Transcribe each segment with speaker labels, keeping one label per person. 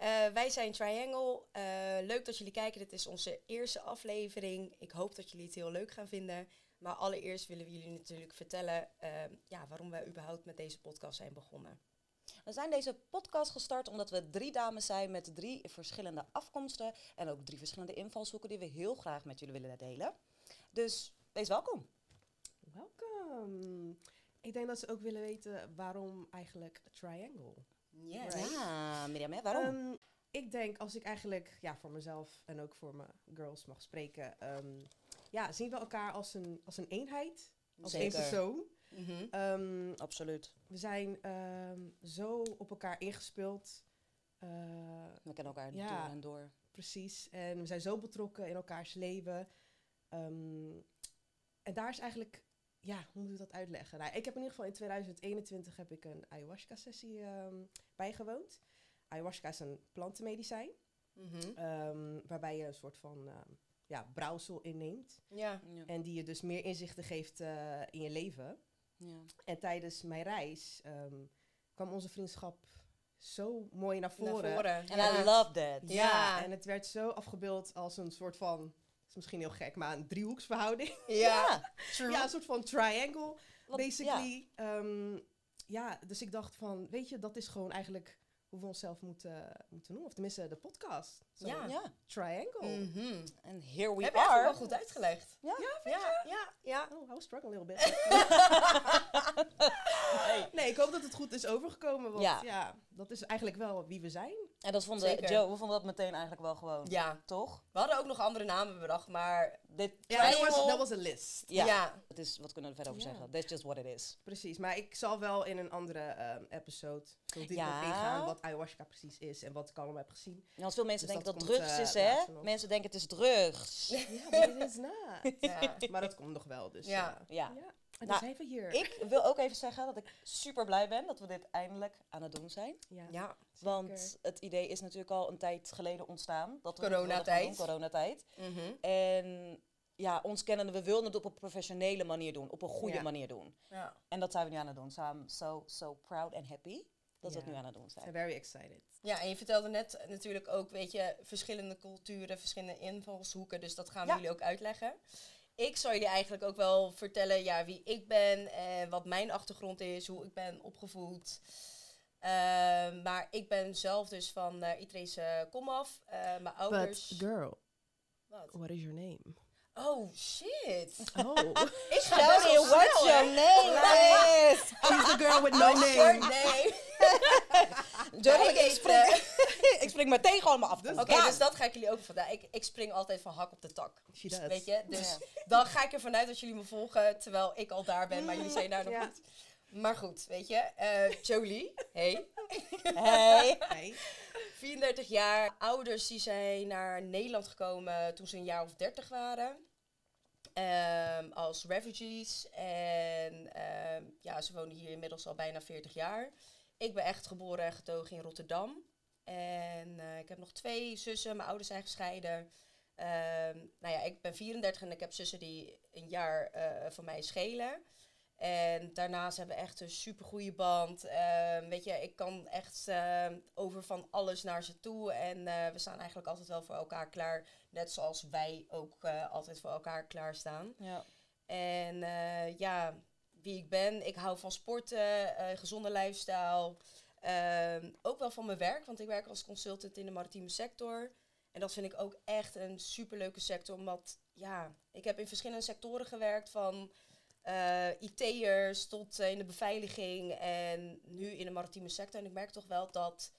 Speaker 1: eh, wij zijn Triangle. Eh, leuk dat jullie kijken. Dit is onze eerste aflevering. Ik hoop dat jullie het heel leuk gaan vinden. Maar allereerst willen we jullie natuurlijk vertellen eh, ja, waarom wij überhaupt met deze podcast zijn begonnen.
Speaker 2: We zijn deze podcast gestart omdat we drie dames zijn met drie verschillende afkomsten en ook drie verschillende invalshoeken die we heel graag met jullie willen delen. Dus wees welkom.
Speaker 3: Welkom. Ik denk dat ze ook willen weten waarom eigenlijk Triangle.
Speaker 1: Yes.
Speaker 2: Ja, Mirjam, hè, waarom?
Speaker 3: Ehm, ik denk als ik eigenlijk ja, voor mezelf en ook voor mijn girls mag spreken. ehm, ja, zien we elkaar als een, als een eenheid, als één persoon.
Speaker 1: Mhm.
Speaker 3: Ehm,
Speaker 2: Absoluut.
Speaker 3: we zijn ehm, zo op elkaar ingespeeld. Eh,
Speaker 2: We kennen elkaar
Speaker 3: Ja.
Speaker 2: door en door.
Speaker 3: precies. En we zijn zo betrokken in elkaars leven. Ehm, en daar is eigenlijk, ja, hoe moet ik dat uitleggen? Nou, ik heb in ieder geval in 2021 heb ik een ayahuasca-sessie ehm, bijgewoond. Ayahuasca is een plantenmedicijn,
Speaker 1: Mhm.
Speaker 3: ehm, waarbij je een soort van ehm, ja, brouwsel inneemt.
Speaker 1: Ja.
Speaker 2: Ja.
Speaker 3: En die je dus meer inzichten geeft eh, in je leven.
Speaker 2: Ja.
Speaker 3: En tijdens mijn reis ehm, kwam onze vriendschap zo mooi naar voren.
Speaker 1: Naar voren.
Speaker 2: En
Speaker 1: Ja.
Speaker 2: I love that.
Speaker 3: Ja.
Speaker 1: Ja.
Speaker 3: en het werd zo afgebeeld als een soort van, het is misschien heel gek, maar een driehoeksverhouding.
Speaker 2: Ja.
Speaker 1: True.
Speaker 3: ja, een soort van triangle,
Speaker 2: Want- ja.
Speaker 3: basically. Ja. ja, dus ik dacht van, weet je, dat is gewoon eigenlijk hoe we onszelf moeten, moeten noemen. Of tenminste, de podcast. Zo,
Speaker 1: Ja.
Speaker 2: Ja.
Speaker 3: Triangle.
Speaker 1: Mhm.
Speaker 2: En here we
Speaker 1: Heb je
Speaker 2: are.
Speaker 1: eigenlijk wel goed uitgelegd.
Speaker 2: Ja.
Speaker 1: Ja, ja, ja.
Speaker 3: Oh, I was struggling a little bit. Nee, ik hoop dat het goed is overgekomen. Want
Speaker 2: Ja.
Speaker 3: ja, dat is eigenlijk wel wie we zijn.
Speaker 2: En dat vonden
Speaker 1: Zeker.
Speaker 2: Joe, we vonden dat meteen eigenlijk wel gewoon.
Speaker 1: Ja.
Speaker 2: Toch?
Speaker 1: We hadden ook nog andere namen bedacht, maar
Speaker 2: Dit,
Speaker 3: Ja, dat
Speaker 1: Triangle.
Speaker 3: was, dat was een list.
Speaker 2: ja.
Speaker 1: ja.
Speaker 2: Dat is, wat kunnen we er verder over
Speaker 3: Ja.
Speaker 2: zeggen? That's just what it is.
Speaker 3: Precies, maar ik zal wel in een andere ehm, episode veel dieper
Speaker 2: Ja.
Speaker 3: op ingaan wat ayahuasca precies is en wat ik allemaal heb gezien.
Speaker 2: En als veel mensen
Speaker 3: Dus
Speaker 2: denken dat,
Speaker 3: dat komt,
Speaker 2: drugs
Speaker 3: eh,
Speaker 2: is, hè?
Speaker 3: later nog.
Speaker 2: Mensen denken het is drugs.
Speaker 3: Ja, maar dit is na.
Speaker 1: ja.
Speaker 3: Maar dat komt nog wel, dus
Speaker 1: Ja.
Speaker 3: eh,
Speaker 2: Ja.
Speaker 3: ja. En
Speaker 2: Nou,
Speaker 3: dan zijn we hier.
Speaker 2: Ik wil ook even zeggen dat ik super blij ben dat we dit eindelijk aan het doen zijn.
Speaker 3: ja.
Speaker 1: ja.
Speaker 2: Want het idee is natuurlijk al een tijd geleden ontstaan. Dat we dit wilden gaan
Speaker 1: Coronatijd.
Speaker 2: doen, Coronatijd.
Speaker 1: Mhm.
Speaker 2: En ja, ons kennen, we wilden het op een professionele manier doen. Op een goede
Speaker 3: Ja.
Speaker 2: manier doen.
Speaker 1: ja.
Speaker 2: En dat zijn we nu aan het doen. So I'm so, so proud and happy dat we
Speaker 3: Ja.
Speaker 2: het nu aan het doen
Speaker 3: I'm
Speaker 2: zijn.
Speaker 3: very excited.
Speaker 1: Ja, en je vertelde net natuurlijk ook, weet je, verschillende culturen, verschillende invalshoeken. Dus dat gaan we
Speaker 2: Ja.
Speaker 1: jullie ook uitleggen. Ik zal jullie eigenlijk ook wel vertellen ja, wie ik ben en wat mijn achtergrond is, hoe ik ben opgevoed. Ehm, maar ik ben zelf dus van eh Itrese komaf. Eh, mijn ouders.
Speaker 3: girl,
Speaker 1: Wat?
Speaker 3: what is your name?
Speaker 1: Oh shit.
Speaker 3: Oh,
Speaker 1: Ik ga best
Speaker 2: Sorry,
Speaker 1: wel
Speaker 2: what's
Speaker 1: snel, hè? Oh,
Speaker 2: your name is?
Speaker 3: she's the girl with no
Speaker 1: What's your
Speaker 3: name.
Speaker 1: name?
Speaker 2: Jordan,
Speaker 1: Hij
Speaker 2: ik
Speaker 1: heet,
Speaker 2: spring, ik spring meteen gewoon mijn afkomst.
Speaker 1: Oké,
Speaker 2: aan.
Speaker 1: dus dat ga ik jullie ook vandaag. Ik, ik spring altijd van hak op de tak.
Speaker 3: She does.
Speaker 1: Weet je, dus dan ga ik ervan uit dat jullie me volgen terwijl ik al daar ben, maar jullie zijn daar nog
Speaker 3: Ja.
Speaker 1: niet. Maar goed, weet je, eh, Jolie, hey,
Speaker 2: Hey.
Speaker 3: Hey.
Speaker 1: 34 jaar. Ouders die zijn naar Nederland gekomen toen ze een jaar of 30 waren. Ehm, als refugees. En ehm, ja, ze wonen hier inmiddels al bijna 40 jaar. Ik ben echt geboren en getogen in Rotterdam. En eh, ik heb nog twee zussen. Mijn ouders zijn gescheiden. Ehm, nou ja, ik ben 34 en ik heb zussen die een jaar eh, van mij schelen. En daarnaast hebben we echt een supergoeie band. Ehm, weet je, ik kan echt ehm, over van alles naar ze toe. En eh, we staan eigenlijk altijd wel voor elkaar klaar. Net zoals wij ook eh, altijd voor elkaar klaarstaan.
Speaker 2: Ja.
Speaker 1: En eh, ja, wie ik ben. Ik hou van sporten, eh, gezonde lifestyle. Ehm, ook wel van mijn werk, want ik werk als consultant in de maritieme sector. En dat vind ik ook echt een superleuke sector. Omdat, ja, ik heb in verschillende sectoren gewerkt. Van eh, IT'ers tot eh, in de beveiliging en nu in de maritieme sector. En ik merk toch wel dat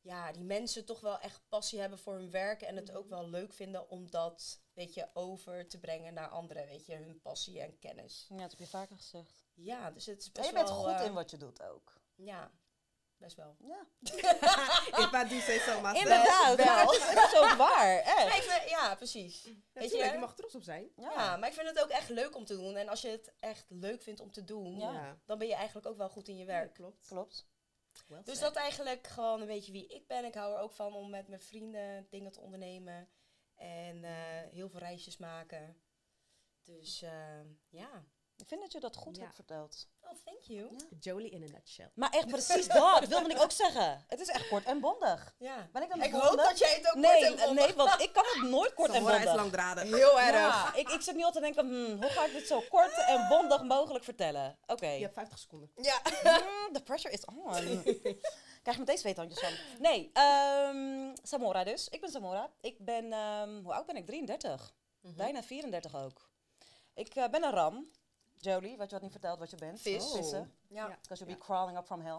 Speaker 1: ja, die mensen toch wel echt passie hebben voor hun werk. En het ook wel leuk vinden om dat, weet je, over te brengen naar anderen. Weet je, hun passie en kennis.
Speaker 2: ja, dat heb je vaker gezegd.
Speaker 1: Ja, dus het is
Speaker 2: En
Speaker 1: best
Speaker 2: je bent
Speaker 1: wel...
Speaker 2: goed
Speaker 1: eh,
Speaker 2: in wat je doet ook.
Speaker 1: Ja, best wel.
Speaker 2: Ja.
Speaker 3: If I do say so myself.
Speaker 2: Inderdaad,
Speaker 1: wel.
Speaker 2: ja, dat is echt zo waar.
Speaker 1: Ja,
Speaker 2: Echt.
Speaker 1: ik vind- ja, precies.
Speaker 3: Natuurlijk,
Speaker 1: je, hè?
Speaker 3: je mag trots op zijn.
Speaker 1: Ja. maar ik vind het ook echt leuk om te doen. En als je het echt leuk vindt om te doen,
Speaker 2: Ja.
Speaker 1: dan ben je eigenlijk ook wel goed in je
Speaker 3: Ja,
Speaker 1: werk.
Speaker 3: klopt.
Speaker 2: klopt.
Speaker 1: Dus dat eigenlijk gewoon een beetje wie ik ben. Ik hou er ook van om met mijn vrienden dingen te ondernemen. En eh, heel veel reisjes maken. Dus eh, ja.
Speaker 2: Ik vind dat je dat goed
Speaker 3: Ja.
Speaker 2: hebt verteld.
Speaker 1: Oh, thank you.
Speaker 2: Ja.
Speaker 3: Jolie in a nutshell.
Speaker 2: Maar echt precies dat wilde ik ook zeggen. Het is echt kort en bondig.
Speaker 1: Ja.
Speaker 2: Ben ik dan
Speaker 1: Ik
Speaker 2: bondig?
Speaker 1: hoop dat jij het ook
Speaker 2: nee,
Speaker 1: kort en bondig-
Speaker 2: Nee, want ik kan het nooit kort en
Speaker 3: Samora is
Speaker 2: bondig.
Speaker 3: langdradig.
Speaker 1: Heel erg.
Speaker 2: Ja, ik, ik zit nu al te denken, hmm, hoe ga ik dit zo kort en bondig mogelijk vertellen? Oké.
Speaker 3: Je hebt 50 seconden.
Speaker 1: Ja.
Speaker 2: Mm, The pressure is on. Krijg je meteen zweethandjes van. Nee, ehm, Samora dus. Ik ben Samora. Ik ben, ehm, hoe oud ben ik? 33.
Speaker 1: Mhm.
Speaker 2: Bijna 34 ook. Ik eh, ben een ram. Jolie, wat je had niet verteld wat je bent. Oh.
Speaker 1: Vis.
Speaker 2: Vissen.
Speaker 1: Ja.
Speaker 2: Because you'll
Speaker 3: Ja.
Speaker 2: be crawling up from hell.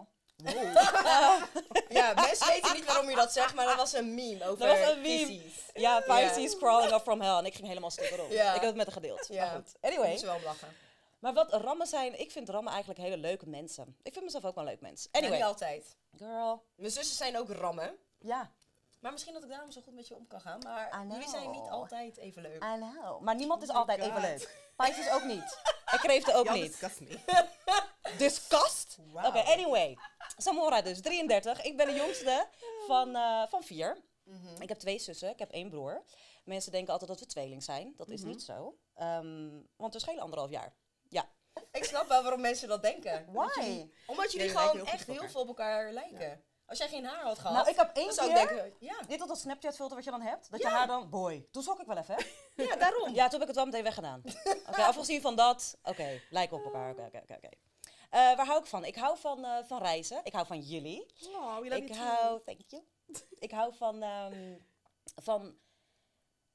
Speaker 1: ja, mensen weten niet waarom je dat zegt, maar dat was een meme over
Speaker 2: Dat was een meme.
Speaker 1: Pisces.
Speaker 2: Ja, Pisces crawling up from hell. En ik ging helemaal stuk erop.
Speaker 1: Ja.
Speaker 2: Ik heb het met haar gedeeld.
Speaker 1: Ja.
Speaker 2: Maar goed. Anyway.
Speaker 1: Moest wel om lachen.
Speaker 2: Maar wat rammen zijn, ik vind rammen eigenlijk hele leuke mensen. Ik vind mezelf ook wel een leuk mens.
Speaker 1: En niet
Speaker 2: Anyway.
Speaker 1: altijd.
Speaker 2: Girl.
Speaker 1: Mijn zussen zijn ook rammen.
Speaker 2: Ja,
Speaker 1: Maar misschien dat ik daarom zo goed met je om kan gaan. Maar
Speaker 2: I know.
Speaker 1: jullie zijn niet altijd even leuk.
Speaker 2: I know. Maar niemand is
Speaker 3: Oh my
Speaker 2: altijd even
Speaker 3: God.
Speaker 2: leuk. Pisces ook niet. En kreeften ook niet.
Speaker 3: discuss me.
Speaker 2: Disgust.
Speaker 1: Wauw.
Speaker 2: Oké, anyway. Samora dus, 33. Ik ben de jongste van, eh, van vier. Ik heb twee zussen, ik heb één broer. Mensen denken altijd dat we tweeling zijn. Dat is niet zo. Ehm, want we schelen anderhalf jaar. Ja.
Speaker 1: Ik snap wel waarom mensen dat denken.
Speaker 2: Why?
Speaker 1: Omdat jullie
Speaker 3: Jullie lijken
Speaker 1: gewoon
Speaker 3: heel goed
Speaker 1: echt
Speaker 3: op elkaar.
Speaker 1: heel veel op elkaar lijken. Als jij geen haar had gehad,
Speaker 2: Nou, ik heb één
Speaker 1: dan zou ik
Speaker 2: keer-
Speaker 1: denken, ja,
Speaker 2: Dit dat dat Snapchat filter wat je dan hebt, dat je
Speaker 1: Ja.
Speaker 2: haar dan... Boy, toen schrok ik wel even. hè?
Speaker 1: ja, daarom.
Speaker 2: Ja, toen heb ik het wel meteen weggedaan. Oké, afgezien van dat. Oké, lijken op elkaar. Oké, oké, oké. oké. Eh, waar hou ik van? Ik hou van, eh, van reizen. Ik hou van jullie.
Speaker 3: Oh, we love
Speaker 2: Ik
Speaker 3: you too.
Speaker 2: hou, thank you. ik hou van, ehm, van,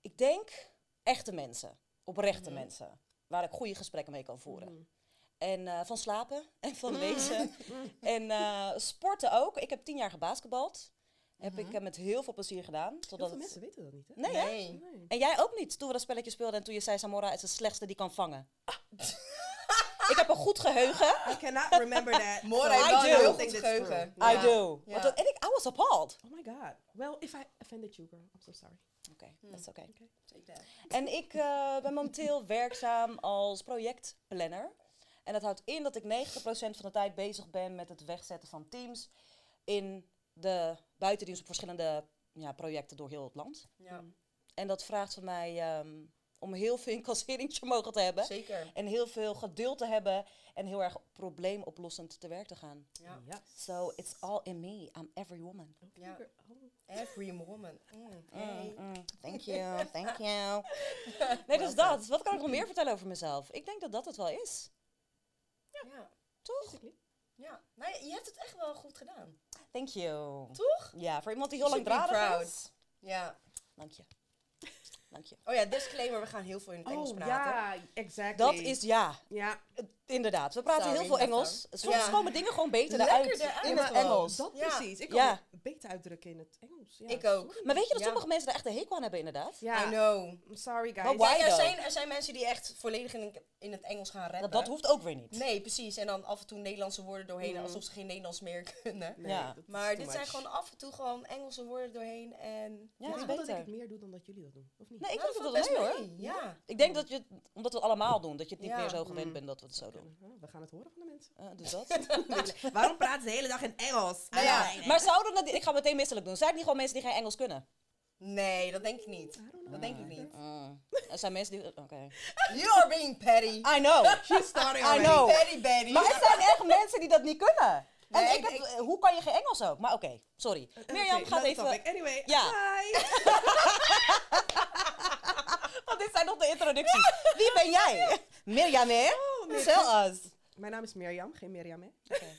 Speaker 2: ik denk, echte mensen. Oprechte
Speaker 3: Mhm.
Speaker 2: mensen. Waar ik goede gesprekken mee kan voeren. En eh, van slapen en van
Speaker 3: Mhm.
Speaker 2: lezen. en eh, sporten ook. Ik heb tien jaar gebasketbald. Heb ik eh, met heel veel plezier gedaan.
Speaker 3: Mhm. Heel
Speaker 2: Totdat
Speaker 3: veel
Speaker 2: het-
Speaker 3: mensen weten dat niet, hè? Oh,
Speaker 2: Nee, hè?
Speaker 1: Nee.
Speaker 3: Nee.
Speaker 2: En jij ook niet, toen we dat spelletje speelden en toen je zei, Samora is de slechtste die kan vangen. ik heb een goed geheugen.
Speaker 3: I cannot remember that.
Speaker 1: Mora
Speaker 3: so
Speaker 1: heeft
Speaker 2: I
Speaker 1: wel een
Speaker 2: do.
Speaker 1: heel
Speaker 3: think
Speaker 1: goed
Speaker 3: that's
Speaker 1: geheugen.
Speaker 3: true.
Speaker 2: I
Speaker 1: Ja.
Speaker 2: do.
Speaker 1: Ja.
Speaker 2: Want dat- en ik, I was appalled.
Speaker 3: Oh my god. Well, if I offended you, girl, I'm so sorry.
Speaker 2: Oké, Hmm. dat is oké.
Speaker 1: Take that.
Speaker 2: En ik eh, ben momenteel werkzaam als projectplanner. En dat houdt in dat ik 90% van de tijd bezig ben met het wegzetten van teams in de buitendienst op verschillende ja, projecten door heel het land.
Speaker 1: Ja,
Speaker 3: Mm,
Speaker 2: En dat vraagt van mij ehm, om heel veel incasseringvermogen te hebben.
Speaker 1: zeker.
Speaker 2: En heel veel geduld te hebben en heel erg probleemoplossend te werk te gaan.
Speaker 1: Ja.
Speaker 3: Ja.
Speaker 2: So it's all in me. I'm every woman.
Speaker 1: Ja.
Speaker 3: Girl, mm, oh.
Speaker 1: Every woman. Mm, hey.
Speaker 2: Mm, mm. Thank you, thank you. Nee, dus dat. Wat kan ik nog meer vertellen over mezelf? Ik denk dat dat het wel is.
Speaker 1: Ja.
Speaker 2: Toch?
Speaker 3: Basically.
Speaker 1: Ja. Nou, je- je hebt het echt wel goed gedaan.
Speaker 2: Thank you.
Speaker 1: Toch?
Speaker 2: Ja, voor iemand die heel
Speaker 1: You
Speaker 2: lang
Speaker 1: should be
Speaker 2: draad
Speaker 1: proud.
Speaker 2: is.
Speaker 1: Ja.
Speaker 2: Dank je. Dank je.
Speaker 1: Oh ja, disclaimer, we gaan heel veel in het Engels
Speaker 3: Oh,
Speaker 1: praten.
Speaker 3: ja, exactly.
Speaker 2: Dat is ja,
Speaker 3: Ja.
Speaker 2: inderdaad. We praten
Speaker 1: Sorry,
Speaker 2: heel veel
Speaker 1: daarvoor.
Speaker 2: Engels. Soms
Speaker 1: Ja.
Speaker 2: komen dingen gewoon beter
Speaker 1: Lekker
Speaker 2: eruit
Speaker 1: eruit
Speaker 2: in het
Speaker 1: gewoon.
Speaker 2: Engels.
Speaker 3: Dat
Speaker 1: Ja.
Speaker 3: precies. Ik kan
Speaker 2: Ja.
Speaker 3: het beter uitdrukken in het Engels. Ja,
Speaker 1: Ik ook.
Speaker 3: sorry.
Speaker 2: Maar weet je dat
Speaker 1: Ja.
Speaker 2: sommige mensen er echt een hekel aan hebben, inderdaad?
Speaker 1: I
Speaker 3: Ja,
Speaker 1: know.
Speaker 3: I'm sorry guys.
Speaker 2: Maar why-
Speaker 1: Kijk, er,
Speaker 2: though?
Speaker 1: zijn, er zijn mensen die echt volledig in, in het Engels gaan rappen.
Speaker 2: Dat, dat hoeft ook weer niet.
Speaker 1: Nee, precies. En dan af en toe Nederlandse woorden doorheen, alsof ze geen Nederlands meer kunnen.
Speaker 3: Nee,
Speaker 2: Ja.
Speaker 3: dat is
Speaker 1: Maar
Speaker 3: too
Speaker 1: dit
Speaker 3: much.
Speaker 1: zijn gewoon af en toe gewoon Engelse woorden doorheen en...
Speaker 2: Ja,
Speaker 3: Ja,
Speaker 2: is
Speaker 3: ik wil dat ik
Speaker 2: beter.
Speaker 3: het meer doe dan dat jullie dat doen, of niet?
Speaker 2: Nee, ik
Speaker 1: Nou,
Speaker 2: vind het
Speaker 1: valt
Speaker 2: wel
Speaker 1: best
Speaker 2: mee hoor.
Speaker 1: mee. Ja.
Speaker 2: Ik denk dat je, het- omdat we het allemaal doen, dat je het niet
Speaker 1: Ja.
Speaker 2: meer zo gewend
Speaker 3: Mm.
Speaker 2: bent dat we het zo doen.
Speaker 3: Oh, we gaan het horen van de mensen.
Speaker 2: Eh, dus dat.
Speaker 3: Waarom praten ze de hele dag in Engels?
Speaker 1: Nou ja,
Speaker 3: I don't
Speaker 2: maar zouden dat, ik ga meteen misselijk doen. Zijn het niet gewoon mensen die geen Engels kunnen?
Speaker 1: Nee, dat denk ik niet.
Speaker 3: know.
Speaker 1: Dat denk ik niet.
Speaker 2: Mm. Er zijn mensen die, oké.
Speaker 1: You are being petty.
Speaker 2: I know.
Speaker 3: She's starting
Speaker 2: I
Speaker 3: already.
Speaker 2: know.
Speaker 1: Petty, petty.
Speaker 2: Maar er zijn echt mensen die dat niet kunnen. En
Speaker 1: Nee,
Speaker 2: ik heb,
Speaker 1: ik-
Speaker 2: eh, hoe kan je geen Engels ook? Maar oké, sorry. Mirjam
Speaker 3: Oké,
Speaker 2: gaat
Speaker 3: another
Speaker 2: even.
Speaker 3: topic. Anyway,
Speaker 2: Ja.
Speaker 3: hi.
Speaker 2: Want dit zijn nog de introducties. Wie ben jij? Mirjam, hè? Tell us.
Speaker 3: Mijn naam is Mirjam, geen Mirjam, hè?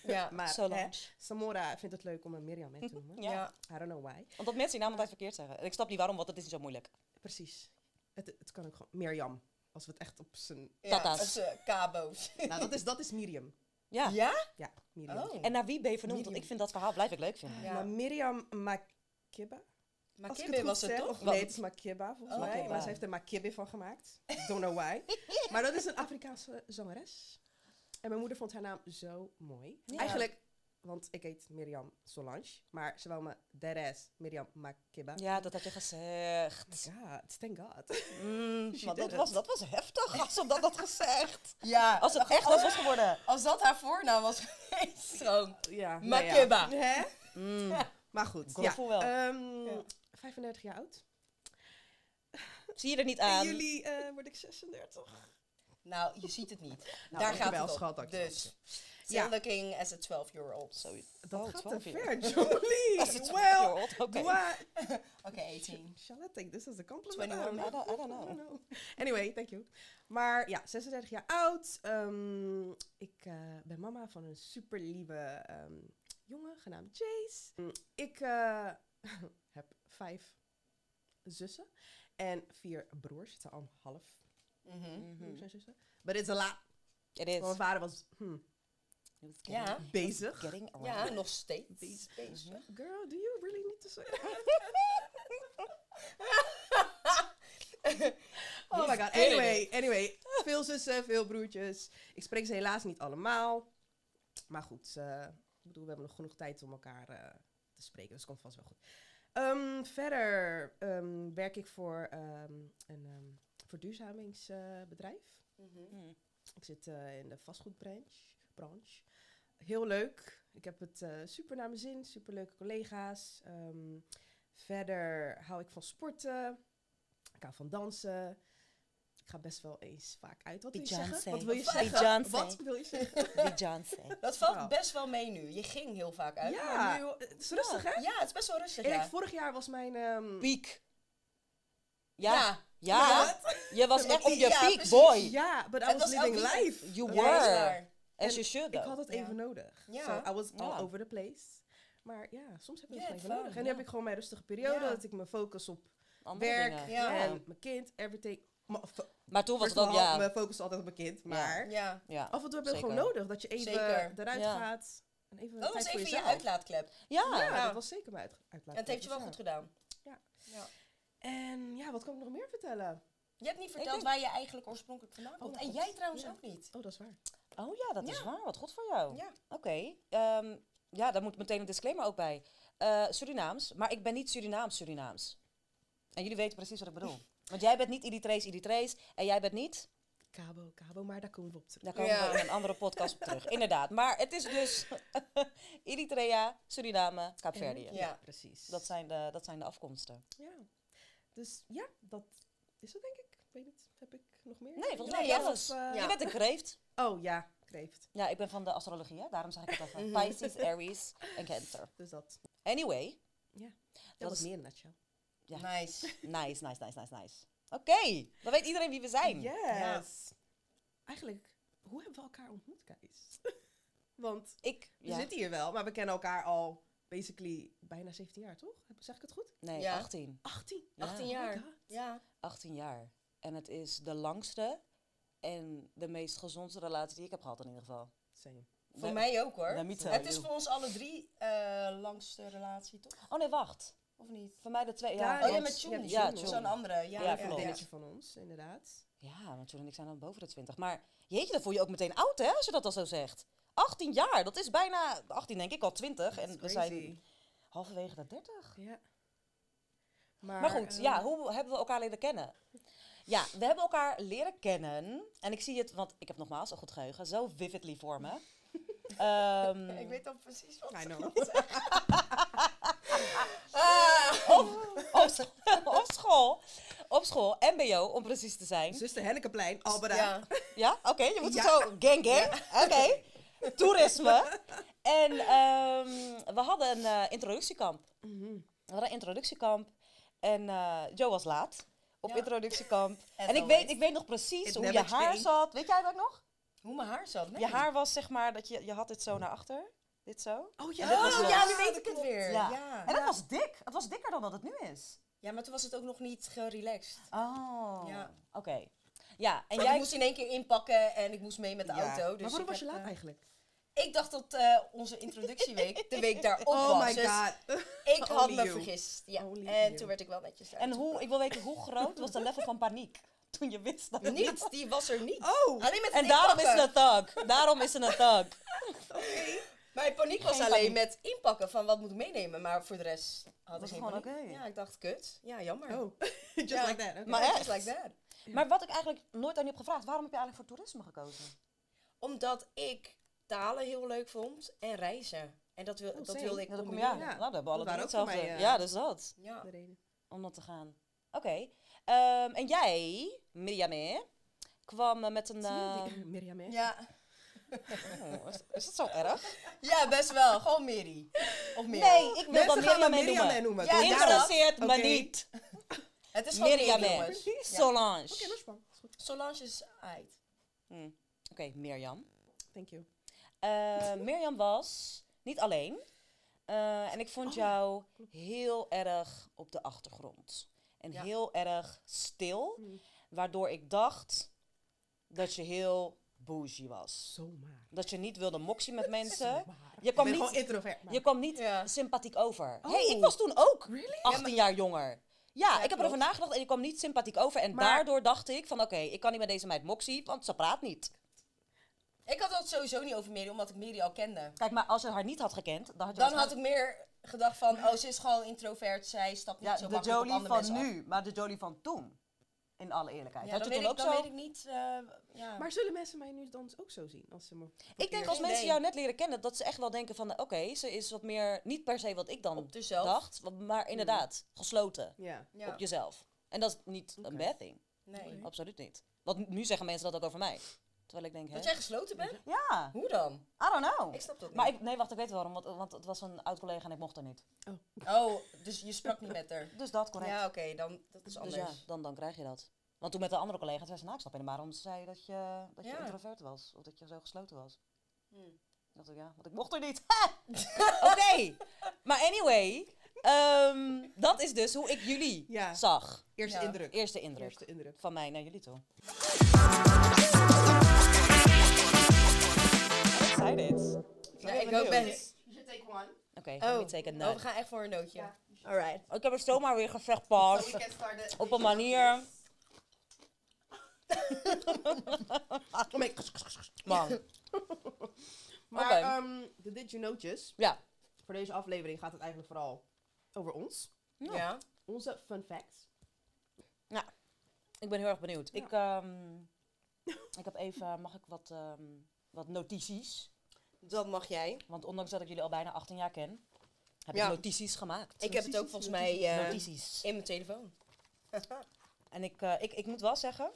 Speaker 1: ja.
Speaker 3: Maar
Speaker 2: Solange.
Speaker 3: hè, Samora vindt het leuk om me Mirjam hè, te noemen.
Speaker 2: Ja.
Speaker 1: Ja.
Speaker 3: I don't know why.
Speaker 2: Omdat mensen die naam altijd verkeerd zeggen. En ik snap niet waarom, want het is niet zo moeilijk.
Speaker 3: Precies. Het, het kan ook gewoon Mirjam. Als we het echt op zijn...
Speaker 1: Ja,
Speaker 2: Tata's.
Speaker 1: als, eh, kabo's.
Speaker 3: Nou, dat is, dat is Miriam.
Speaker 2: Ja.
Speaker 1: Ja?
Speaker 3: Ja, Miriam.
Speaker 1: Oh.
Speaker 2: En naar wie ben je vernoemd? Want ik vind dat verhaal blijf ik leuk vinden.
Speaker 1: Ja.
Speaker 3: Nou, Miriam Makibba.
Speaker 1: maar
Speaker 3: Als ik
Speaker 1: Kimbe
Speaker 3: goed
Speaker 1: was het
Speaker 3: zeg,
Speaker 1: toch?
Speaker 3: of Nee, het is Makibba volgens
Speaker 1: Oh.
Speaker 3: mij. Maar
Speaker 2: Makibba.
Speaker 3: ze heeft er Makibbe van gemaakt. Don't know why. maar dat is een Afrikaanse zangeres. En mijn moeder vond haar naam zo mooi.
Speaker 2: Ja.
Speaker 3: Eigenlijk, want ik heet Miriam Solange. Maar ze wou me deres Miriam Makibba.
Speaker 2: Ja, dat had je gezegd.
Speaker 3: Ja, thank God.
Speaker 2: Mm,
Speaker 3: She
Speaker 2: maar
Speaker 3: did
Speaker 2: dat
Speaker 3: it.
Speaker 2: was, dat was heftig als ze dat had gezegd.
Speaker 1: Ja.
Speaker 2: Als het echt was, was geworden.
Speaker 1: Als dat haar voornaam was geweest. Zo.
Speaker 3: ja, nou ja.
Speaker 1: Makeba.
Speaker 3: Hè?
Speaker 2: Mm.
Speaker 3: Maar goed,
Speaker 2: Goed
Speaker 3: ja.
Speaker 2: gevoel wel.
Speaker 3: Ehm,
Speaker 1: Ja.
Speaker 3: 35 jaar oud. Ehm,
Speaker 2: Zie je er niet
Speaker 3: En
Speaker 2: aan.
Speaker 3: jullie eh word ik 36.
Speaker 1: Nou, je ziet het niet.
Speaker 3: Nou,
Speaker 1: Daar gaat
Speaker 3: dankjewel,
Speaker 1: het om.
Speaker 3: schat, dankjewel.
Speaker 1: Dus, still
Speaker 3: Ja.
Speaker 1: looking as a 12-year-old.
Speaker 2: Zo,
Speaker 3: Dat
Speaker 2: Oh,
Speaker 3: gaat te
Speaker 2: 12
Speaker 3: ver,
Speaker 2: jaar. As a
Speaker 3: Jolie.
Speaker 2: 12
Speaker 3: Well,
Speaker 2: year old, oké.
Speaker 3: do I-
Speaker 1: Oké, 18.
Speaker 3: Charlotte, take this as a compliment.
Speaker 1: 21,
Speaker 2: I don't- I don't know.
Speaker 3: Anyway, thank you. Maar ja, 36 jaar oud. Ehm, ik eh, ben mama van een super lieve ehm, jongen genaamd Jace. Mm, Ik eh, heb vijf zussen en vier broers. Het zijn allemaal half
Speaker 1: Mhm.
Speaker 3: broers en zussen. But it's a lot.
Speaker 2: It
Speaker 3: Want mijn
Speaker 2: is.
Speaker 3: vader was hmm,
Speaker 1: Ja.
Speaker 3: bezig.
Speaker 2: Getting
Speaker 1: Ja,
Speaker 2: around.
Speaker 1: nog steeds. Mhm.
Speaker 3: Bezig.
Speaker 1: Bezig.
Speaker 3: Girl, do you really need to say Oh my
Speaker 1: He's
Speaker 3: god.
Speaker 1: good at
Speaker 3: Anyway, anyway. Veel zussen, veel broertjes. Ik spreek ze helaas niet allemaal. Maar goed, eh, ik bedoel, we hebben nog genoeg tijd om elkaar eh, te spreken. Dus het komt vast wel goed. Ehm, verder ehm, werk ik voor ehm, een ehm, verduurzamingsbedrijf.
Speaker 1: Mhm.
Speaker 2: Mm.
Speaker 3: ik zit eh, in de vastgoedbranche. Branche. Heel leuk. Ik heb het eh, super naar mijn zin. Super leuke collega's. Ehm, verder hou ik van sporten. Ik hou van dansen. Ik ga best wel eens vaak uit. Wat wil je
Speaker 2: Beyoncé.
Speaker 3: zeggen? Wat wil je
Speaker 1: Of
Speaker 3: zeggen?
Speaker 2: Beyoncé.
Speaker 3: Wat wil je zeggen?
Speaker 2: Wie Johnson.
Speaker 1: Dat valt
Speaker 3: Wow.
Speaker 1: best wel mee nu. Je ging heel vaak uit.
Speaker 3: Ja.
Speaker 1: Maar nu,
Speaker 3: Het is rustig, hè?
Speaker 1: ja, het is best wel rustig.
Speaker 3: En
Speaker 1: Ja.
Speaker 3: ik, vorig jaar was mijn... ehm,
Speaker 2: Piek. Ja, ja.
Speaker 1: Ja.
Speaker 2: Je was
Speaker 1: Ja,
Speaker 2: echt op je
Speaker 1: ja,
Speaker 2: piek,
Speaker 1: precies.
Speaker 2: boy.
Speaker 3: ja, but I
Speaker 1: Het
Speaker 3: was,
Speaker 1: was
Speaker 3: living
Speaker 1: elke-
Speaker 3: life.
Speaker 2: You
Speaker 1: Ja,
Speaker 3: Right?
Speaker 1: is
Speaker 2: were.
Speaker 1: waar.
Speaker 2: As you should,
Speaker 3: Ik
Speaker 2: though.
Speaker 3: had het
Speaker 1: Ja.
Speaker 3: even nodig.
Speaker 1: Ja.
Speaker 3: So I was all
Speaker 2: Ja.
Speaker 3: over the place. Maar ja, soms heb je
Speaker 1: Ja,
Speaker 3: het
Speaker 1: het
Speaker 3: even
Speaker 1: wel,
Speaker 3: nodig. En nu
Speaker 2: ja.
Speaker 3: heb ik gewoon mijn rustige periode.
Speaker 1: Ja.
Speaker 3: Dat ik me focus op
Speaker 2: Andere
Speaker 3: werk
Speaker 2: dingen.
Speaker 1: Ja.
Speaker 3: en mijn kind, everything. Maar fo-
Speaker 2: Maar toen was
Speaker 3: first
Speaker 2: het
Speaker 3: of
Speaker 2: ook,
Speaker 3: all,
Speaker 2: ja.
Speaker 3: Mijn focus is altijd op mijn kind. Maar
Speaker 1: Ja.
Speaker 2: Ja,
Speaker 3: af en toe heb je het gewoon
Speaker 2: Zeker.
Speaker 3: nodig dat je even
Speaker 1: Zeker.
Speaker 3: eruit
Speaker 2: Ja.
Speaker 3: gaat. En Oh, even
Speaker 1: Dat
Speaker 3: tijd
Speaker 1: was
Speaker 3: voor
Speaker 1: even je
Speaker 3: jezelf.
Speaker 1: uitlaatklep.
Speaker 2: ja.
Speaker 3: Ja,
Speaker 1: Ja.
Speaker 3: dat was zeker mijn uit
Speaker 1: En
Speaker 3: uitlaat.
Speaker 1: het heeft je wel goed gedaan.
Speaker 3: Ja.
Speaker 1: Ja.
Speaker 3: En ja, wat kan ik nog meer vertellen?
Speaker 1: Je hebt niet verteld
Speaker 2: denk-
Speaker 1: waar je eigenlijk oorspronkelijk vandaan komt.
Speaker 3: mijn
Speaker 1: en
Speaker 3: god.
Speaker 1: jij trouwens
Speaker 3: Ja.
Speaker 1: ook niet.
Speaker 3: Oh, dat is waar.
Speaker 2: Oh ja, dat is waar. Wat goed voor jou.
Speaker 1: Ja.
Speaker 2: Oké. ehm, ja, daar moet meteen een disclaimer ook bij. Eh, Surinaams, maar ik ben niet Surinaams Surinaams. En jullie weten precies wat ik bedoel. Want jij bent niet Eritrees Eritrees en jij bent niet...
Speaker 3: Cabo, Cabo, maar daar komen we op terug.
Speaker 2: Daar komen
Speaker 1: Ja.
Speaker 2: we in een andere podcast op terug. Inderdaad. Maar het is dus Eritrea, Suriname, Kaapverdië.
Speaker 1: Ja.
Speaker 3: precies.
Speaker 2: Dat, zijn de- dat zijn de afkomsten.
Speaker 3: Ja. Dus ja, dat is het denk ik. Ik weet niet, heb ik nog meer?
Speaker 2: Nee, volgens
Speaker 1: Nee,
Speaker 2: mij
Speaker 1: ja,
Speaker 2: alles.
Speaker 3: of, eh,
Speaker 2: Je bent een kreeft.
Speaker 3: Oh ja, kreeft.
Speaker 2: Ja, ik ben van de astrologie, hè? daarom zeg ik het even.
Speaker 1: Mhm.
Speaker 2: Pisces, Aries en Cancer.
Speaker 3: Dus dat,
Speaker 2: Anyway,
Speaker 3: dat,
Speaker 2: Dat
Speaker 3: was
Speaker 2: is-
Speaker 3: meer een nutshell.
Speaker 2: Ja.
Speaker 1: Nice.
Speaker 2: nice, nice, nice, nice, nice. Oké, dan weet iedereen wie we zijn.
Speaker 3: Yes. Eigenlijk, hoe hebben we elkaar ontmoet, Kees? Want
Speaker 2: Ik,
Speaker 3: we
Speaker 2: ja,
Speaker 3: zitten hier wel, maar we kennen elkaar al basically bijna 17 jaar, toch? Heb- Zeg ik het goed?
Speaker 2: nee,
Speaker 1: Ja.
Speaker 2: 18.
Speaker 3: 18.
Speaker 2: Ja,
Speaker 1: 18
Speaker 3: Oh my
Speaker 1: jaar.
Speaker 3: god.
Speaker 1: Ja.
Speaker 2: 18 jaar. En het is de langste en de meest gezonde relatie die ik heb gehad in ieder geval.
Speaker 3: Same.
Speaker 1: Voor
Speaker 2: De-
Speaker 1: mij ook hoor.
Speaker 2: Let me tell
Speaker 1: Het is
Speaker 2: you.
Speaker 1: voor ons alle drie eh langste relatie, toch?
Speaker 2: Oh nee, wacht.
Speaker 1: Of niet?
Speaker 2: Voor mij de twee.
Speaker 3: Ja,
Speaker 2: Ja,
Speaker 1: Oh ja,
Speaker 2: want-
Speaker 1: met
Speaker 3: Joen.
Speaker 1: Joen.
Speaker 2: Ja,
Speaker 3: Joen.
Speaker 1: Zo'n andere. Ja,
Speaker 2: Ja,
Speaker 1: ja,
Speaker 3: Een
Speaker 2: klopt.
Speaker 1: ja.
Speaker 3: vriendinnetje van ons, inderdaad.
Speaker 2: Ja, want John en ik zijn dan boven de 20. Maar jeetje, dan voel je ook meteen oud, hè, als je dat al zo zegt. 18 jaar, dat is bijna 18 denk ik, al 20. En we
Speaker 3: That's
Speaker 2: zijn
Speaker 3: crazy.
Speaker 2: halverwege de 30.
Speaker 3: Ja.
Speaker 2: Maar goed,
Speaker 3: ehm,
Speaker 2: ja, hoe hebben we elkaar leren kennen? Ja, we hebben elkaar leren kennen. En ik zie het, want ik heb nogmaals een goed geheugen, zo vividly voor me. Ehm,
Speaker 1: Ik weet dan precies wat.
Speaker 3: I
Speaker 1: ze-
Speaker 3: know.
Speaker 1: Ah!
Speaker 2: op, sch- op school, op school, mbo om precies te zijn.
Speaker 3: Zuster Hennekeplein, Albera.
Speaker 1: Ja.
Speaker 2: Ja, oké, je moet
Speaker 3: Ja.
Speaker 2: het zo gang gang, oké. Toerisme. En ehm, we hadden een eh, introductiekamp.
Speaker 3: Mhm.
Speaker 2: We hadden een introductiekamp en eh Jo was laat op
Speaker 1: Ja.
Speaker 2: introductiekamp.
Speaker 1: As
Speaker 2: en ik
Speaker 1: always.
Speaker 2: weet, ik weet nog precies
Speaker 3: It
Speaker 2: hoe je
Speaker 3: never
Speaker 2: haar
Speaker 3: changed.
Speaker 2: zat. Weet jij dat nog?
Speaker 1: Hoe mijn haar zat. Nee.
Speaker 2: Je haar was zeg maar, dat je, je had dit zo naar achter. Dit zo.
Speaker 3: Oh
Speaker 2: En
Speaker 3: ja,
Speaker 2: dit was
Speaker 1: Oh
Speaker 2: los.
Speaker 1: ja, nu weet ik het weer.
Speaker 2: Ja.
Speaker 1: Ja. Ja.
Speaker 2: En dat was dik. Het was dikker dan dat het nu is.
Speaker 1: maar toen was het ook nog niet gerelaxed.
Speaker 2: Oh.
Speaker 1: Ja.
Speaker 2: Oké. Ja, en
Speaker 1: En jij
Speaker 2: jij...
Speaker 1: moest in één keer inpakken en ik moest mee met de
Speaker 3: Ja.
Speaker 1: auto. Dus
Speaker 3: maar waarom
Speaker 1: ik
Speaker 3: was je
Speaker 1: heb,
Speaker 3: laat
Speaker 1: eh,
Speaker 3: eigenlijk?
Speaker 1: Ik dacht dat eh, onze introductieweek de week daarop was.
Speaker 3: Oh my
Speaker 1: Dus
Speaker 3: god.
Speaker 1: ik had
Speaker 3: Only
Speaker 1: me
Speaker 3: you.
Speaker 1: vergist. Ja.
Speaker 3: Only
Speaker 1: en
Speaker 3: you.
Speaker 1: toen werd ik wel netjes
Speaker 2: En hoe, ik wil weten, hoe groot was de level van paniek toen je wist dat het
Speaker 1: Niet, die was er niet.
Speaker 3: Oh,
Speaker 1: Alleen met
Speaker 2: En
Speaker 1: het
Speaker 2: daarom is
Speaker 1: inpakken.
Speaker 2: het een thug. Daarom is het een thug.
Speaker 1: Mijn paniek was
Speaker 2: Geen
Speaker 1: alleen
Speaker 2: paniek.
Speaker 1: met inpakken van wat moet ik meenemen. Maar voor de rest had
Speaker 2: Was
Speaker 1: ik geen
Speaker 2: gewoon
Speaker 1: paniek.
Speaker 2: oké.
Speaker 1: Ja, ik dacht, kut. Ja, jammer.
Speaker 3: oh. just
Speaker 1: Ah. Ja.
Speaker 3: like that. oké.
Speaker 2: Maar
Speaker 1: Ja,
Speaker 2: echt?
Speaker 1: just like that.
Speaker 2: Maar wat ik eigenlijk nooit aan je heb gevraagd, waarom heb je eigenlijk voor toerisme gekozen?
Speaker 1: Omdat ik talen heel leuk vond en reizen. En dat, wil,
Speaker 3: Oh,
Speaker 1: dat
Speaker 3: same.
Speaker 1: wilde ik
Speaker 2: Ja, dat kom je
Speaker 1: combineren.
Speaker 2: aan.
Speaker 3: Ja.
Speaker 2: Nou, dat hebben we alle
Speaker 3: Dat waren
Speaker 2: drie
Speaker 3: ook voor
Speaker 2: hetzelfde.
Speaker 3: mij, eh,
Speaker 2: ja, dus dat.
Speaker 1: Ja.
Speaker 3: De reden.
Speaker 2: Om dat te gaan. Oké. Ehm, en jij, Mirjam, hè, kwam eh, met een...
Speaker 3: Zie je
Speaker 2: eh,
Speaker 3: die- Mirjam, hè?
Speaker 1: Ja.
Speaker 2: oh, is, is dat zo erg?
Speaker 1: ja, best wel. Gewoon Miri. Of Miri.
Speaker 2: Nee, ik wil dan
Speaker 3: Mensen
Speaker 2: Mirjam
Speaker 3: gaan me
Speaker 2: mee
Speaker 3: Mirjam
Speaker 2: noemen.
Speaker 3: hè noemen.
Speaker 1: Ja,
Speaker 3: toch?
Speaker 1: daarom.
Speaker 2: Interesseert me
Speaker 3: Oké.
Speaker 2: niet.
Speaker 1: Het is gewoon
Speaker 2: Mirjam,
Speaker 1: Miri,
Speaker 2: hè.
Speaker 1: jongens. Ja.
Speaker 2: Solange.
Speaker 3: Oké, dat is fijn. Dat is goed.
Speaker 1: Solange is uit.
Speaker 2: Hm. Oké, Mirjam.
Speaker 3: Thank you.
Speaker 2: Eh, Mirjam was niet alleen. Eh, en ik vond
Speaker 3: Oh, ja.
Speaker 2: jou heel erg op de achtergrond. En
Speaker 1: Ja.
Speaker 2: heel erg stil.
Speaker 3: Mm.
Speaker 2: Waardoor ik dacht dat je heel bougie was.
Speaker 3: Zomaar.
Speaker 2: Dat je niet wilde moksie met mensen.
Speaker 3: Zomaar.
Speaker 2: Je kwam
Speaker 3: ik ben
Speaker 2: niet-
Speaker 3: gewoon introvert. maar-
Speaker 2: Je kwam niet
Speaker 1: Ja.
Speaker 2: sympathiek over.
Speaker 3: Oh.
Speaker 2: hey, ik was toen ook
Speaker 3: Really?
Speaker 2: 18 jaar jonger. Ja,
Speaker 1: Ja,
Speaker 2: ik heb
Speaker 1: klopt.
Speaker 2: erover nagedacht en ik kwam niet sympathiek over. En
Speaker 3: Maar-
Speaker 2: daardoor dacht ik van oké, ik kan niet met deze meid moksie, want ze praat niet.
Speaker 1: Ik had dat sowieso niet over Miri, omdat ik Miri al kende.
Speaker 2: Kijk, maar als je haar niet had gekend, dan had je
Speaker 1: Dan had ik meer gedacht van, oh, ze is gewoon introvert. Zij stapt niet
Speaker 2: Ja,
Speaker 1: zo
Speaker 2: de
Speaker 1: makkelijk op
Speaker 2: Jolie
Speaker 1: andere
Speaker 2: van
Speaker 1: mensen af.
Speaker 2: nu, maar de Jolie van toen. In alle eerlijkheid.
Speaker 1: Ja,
Speaker 2: had
Speaker 1: dan
Speaker 2: je
Speaker 1: weet
Speaker 2: toen
Speaker 1: ik,
Speaker 2: ook
Speaker 1: dan
Speaker 2: zo?
Speaker 1: weet ik niet. eh, ja.
Speaker 3: Maar zullen mensen mij nu dan ook zo zien? Als ze me
Speaker 2: Ik denk als
Speaker 1: Geen
Speaker 2: mensen
Speaker 1: idee.
Speaker 2: jou net leren kennen, dat ze echt wel denken van... Oké, ze is wat meer, niet per se wat ik dan
Speaker 1: op dezelfde.
Speaker 2: dacht, wa- maar inderdaad, gesloten
Speaker 3: Ja.
Speaker 1: Ja.
Speaker 2: op Oh, jezelf. En dat is niet
Speaker 3: Oké.
Speaker 2: een bad thing.
Speaker 1: Nee.
Speaker 3: Oké.
Speaker 2: Absoluut niet. Want nu zeggen mensen dat ook over mij. Terwijl ik denk, hè?
Speaker 1: Dat jij gesloten bent?
Speaker 2: Ja,
Speaker 1: Hoe dan?
Speaker 2: I don't know.
Speaker 1: Ik snap dat niet.
Speaker 2: Maar ik, nee, wacht, ik weet waarom, want, want het was een oud collega en ik mocht er niet.
Speaker 1: Oh, dus je sprak niet met haar.
Speaker 2: Dus dat, correct.
Speaker 1: Ja, oké, dan dat is
Speaker 2: dus
Speaker 1: anders.
Speaker 2: ja, dan, dan krijg je dat. Want toen met de andere collega's was ze nou, ik snap helemaal waarom ze zei dat je, dat je
Speaker 1: Ja.
Speaker 2: introvert was. Of dat je zo gesloten was. Hm.
Speaker 1: Hmm.
Speaker 2: Ik dacht ook, ja, want ik mocht er niet. Ha! Oké, maar anyway, ehm, dat is dus hoe ik jullie
Speaker 3: Ja.
Speaker 2: zag.
Speaker 3: Eerste
Speaker 1: Ja.
Speaker 3: indruk.
Speaker 2: Eerste indruk
Speaker 3: Eerste indruk.
Speaker 2: van mij naar jullie toe. Excited.
Speaker 1: Ja, ik ook ben.
Speaker 4: take one.
Speaker 2: Oké, let me take
Speaker 1: oh, we
Speaker 2: a note.
Speaker 1: gaan echt voor een nootje.
Speaker 4: Ja.
Speaker 1: Alright.
Speaker 2: Oh, Ik heb er zomaar weer gevecht
Speaker 4: So we can start the-
Speaker 2: Op een manier.
Speaker 3: Oh my-
Speaker 2: Man,
Speaker 3: Maar
Speaker 2: Oké.
Speaker 3: ehm, de Did You Know'tjes.
Speaker 2: Ja.
Speaker 3: Voor deze aflevering gaat het eigenlijk vooral over ons.
Speaker 2: Ja.
Speaker 1: Ja.
Speaker 3: Onze fun facts.
Speaker 2: ik ben heel erg benieuwd.
Speaker 3: Ja.
Speaker 2: Ik, ehm, ik heb even, mag ik wat, ehm, wat notities?
Speaker 1: Dat mag jij.
Speaker 2: Want ondanks dat ik jullie al bijna 18 jaar ken, heb
Speaker 1: Ja.
Speaker 2: ik notities gemaakt.
Speaker 1: Ik heb het ook volgens mij eh,
Speaker 2: notities.
Speaker 1: in mijn telefoon.
Speaker 2: En ik, eh, ik, ik moet wel zeggen,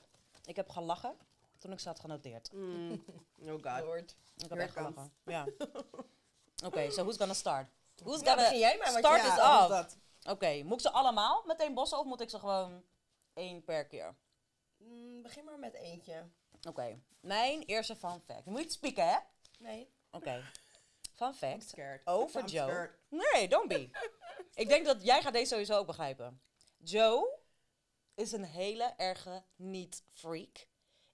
Speaker 2: ik heb gelachen toen ik ze had genoteerd.
Speaker 1: Mm,
Speaker 3: Oh god.
Speaker 1: Lord.
Speaker 2: Ik heb
Speaker 3: Here
Speaker 2: echt
Speaker 3: it comes.
Speaker 2: gelachen. Ja. Oké, so who's gonna start? Who's
Speaker 1: Nou,
Speaker 2: gonna...
Speaker 1: begin jij maar, want
Speaker 2: start
Speaker 1: ja,
Speaker 2: is
Speaker 1: dat
Speaker 2: af.
Speaker 3: was dat.
Speaker 2: Oké, moet ik ze allemaal meteen bossen of moet ik ze gewoon één per keer?
Speaker 1: Mm, begin maar met eentje.
Speaker 2: Oké, mijn eerste fun fact. Je moet niet spieken, hè? Oké.
Speaker 1: Nee.
Speaker 2: Fun
Speaker 3: I'm
Speaker 2: fact.
Speaker 3: scared.
Speaker 2: Over
Speaker 3: I'm
Speaker 2: Joe.
Speaker 3: scared.
Speaker 2: Nee, don't be. ik denk dat jij gaat deze sowieso ook begrijpen. Joe is een hele erge niet-freak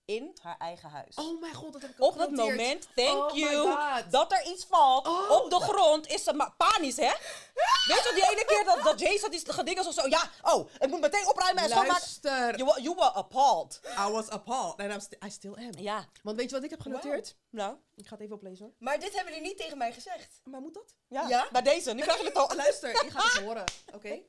Speaker 2: in haar eigen huis.
Speaker 3: Oh mijn god, dat heb ik ook
Speaker 2: op het
Speaker 3: genoteerd.
Speaker 2: moment, thank
Speaker 3: Oh my
Speaker 2: you,
Speaker 3: God.
Speaker 2: dat er iets valt
Speaker 3: Oh,
Speaker 2: op de grond, is ze maar panisch, hè? Weet je die ene keer dat, dat Jason die gedingen of zo, ja, oh, ik moet meteen opruimen en schoonmaken.
Speaker 3: Luister,
Speaker 2: You, wa- you were appalled.
Speaker 3: I was appalled. And I'm sti- I still am.
Speaker 2: Ja,
Speaker 3: Want weet je wat ik heb genoteerd?
Speaker 2: nou,
Speaker 3: Ik ga het even oplezen hoor.
Speaker 1: Maar dit hebben jullie niet tegen mij gezegd.
Speaker 3: Maar moet dat?
Speaker 2: ja,
Speaker 1: Ja?
Speaker 2: bij deze, nu krijg je het al.
Speaker 3: Luister, je gaat het horen, oké?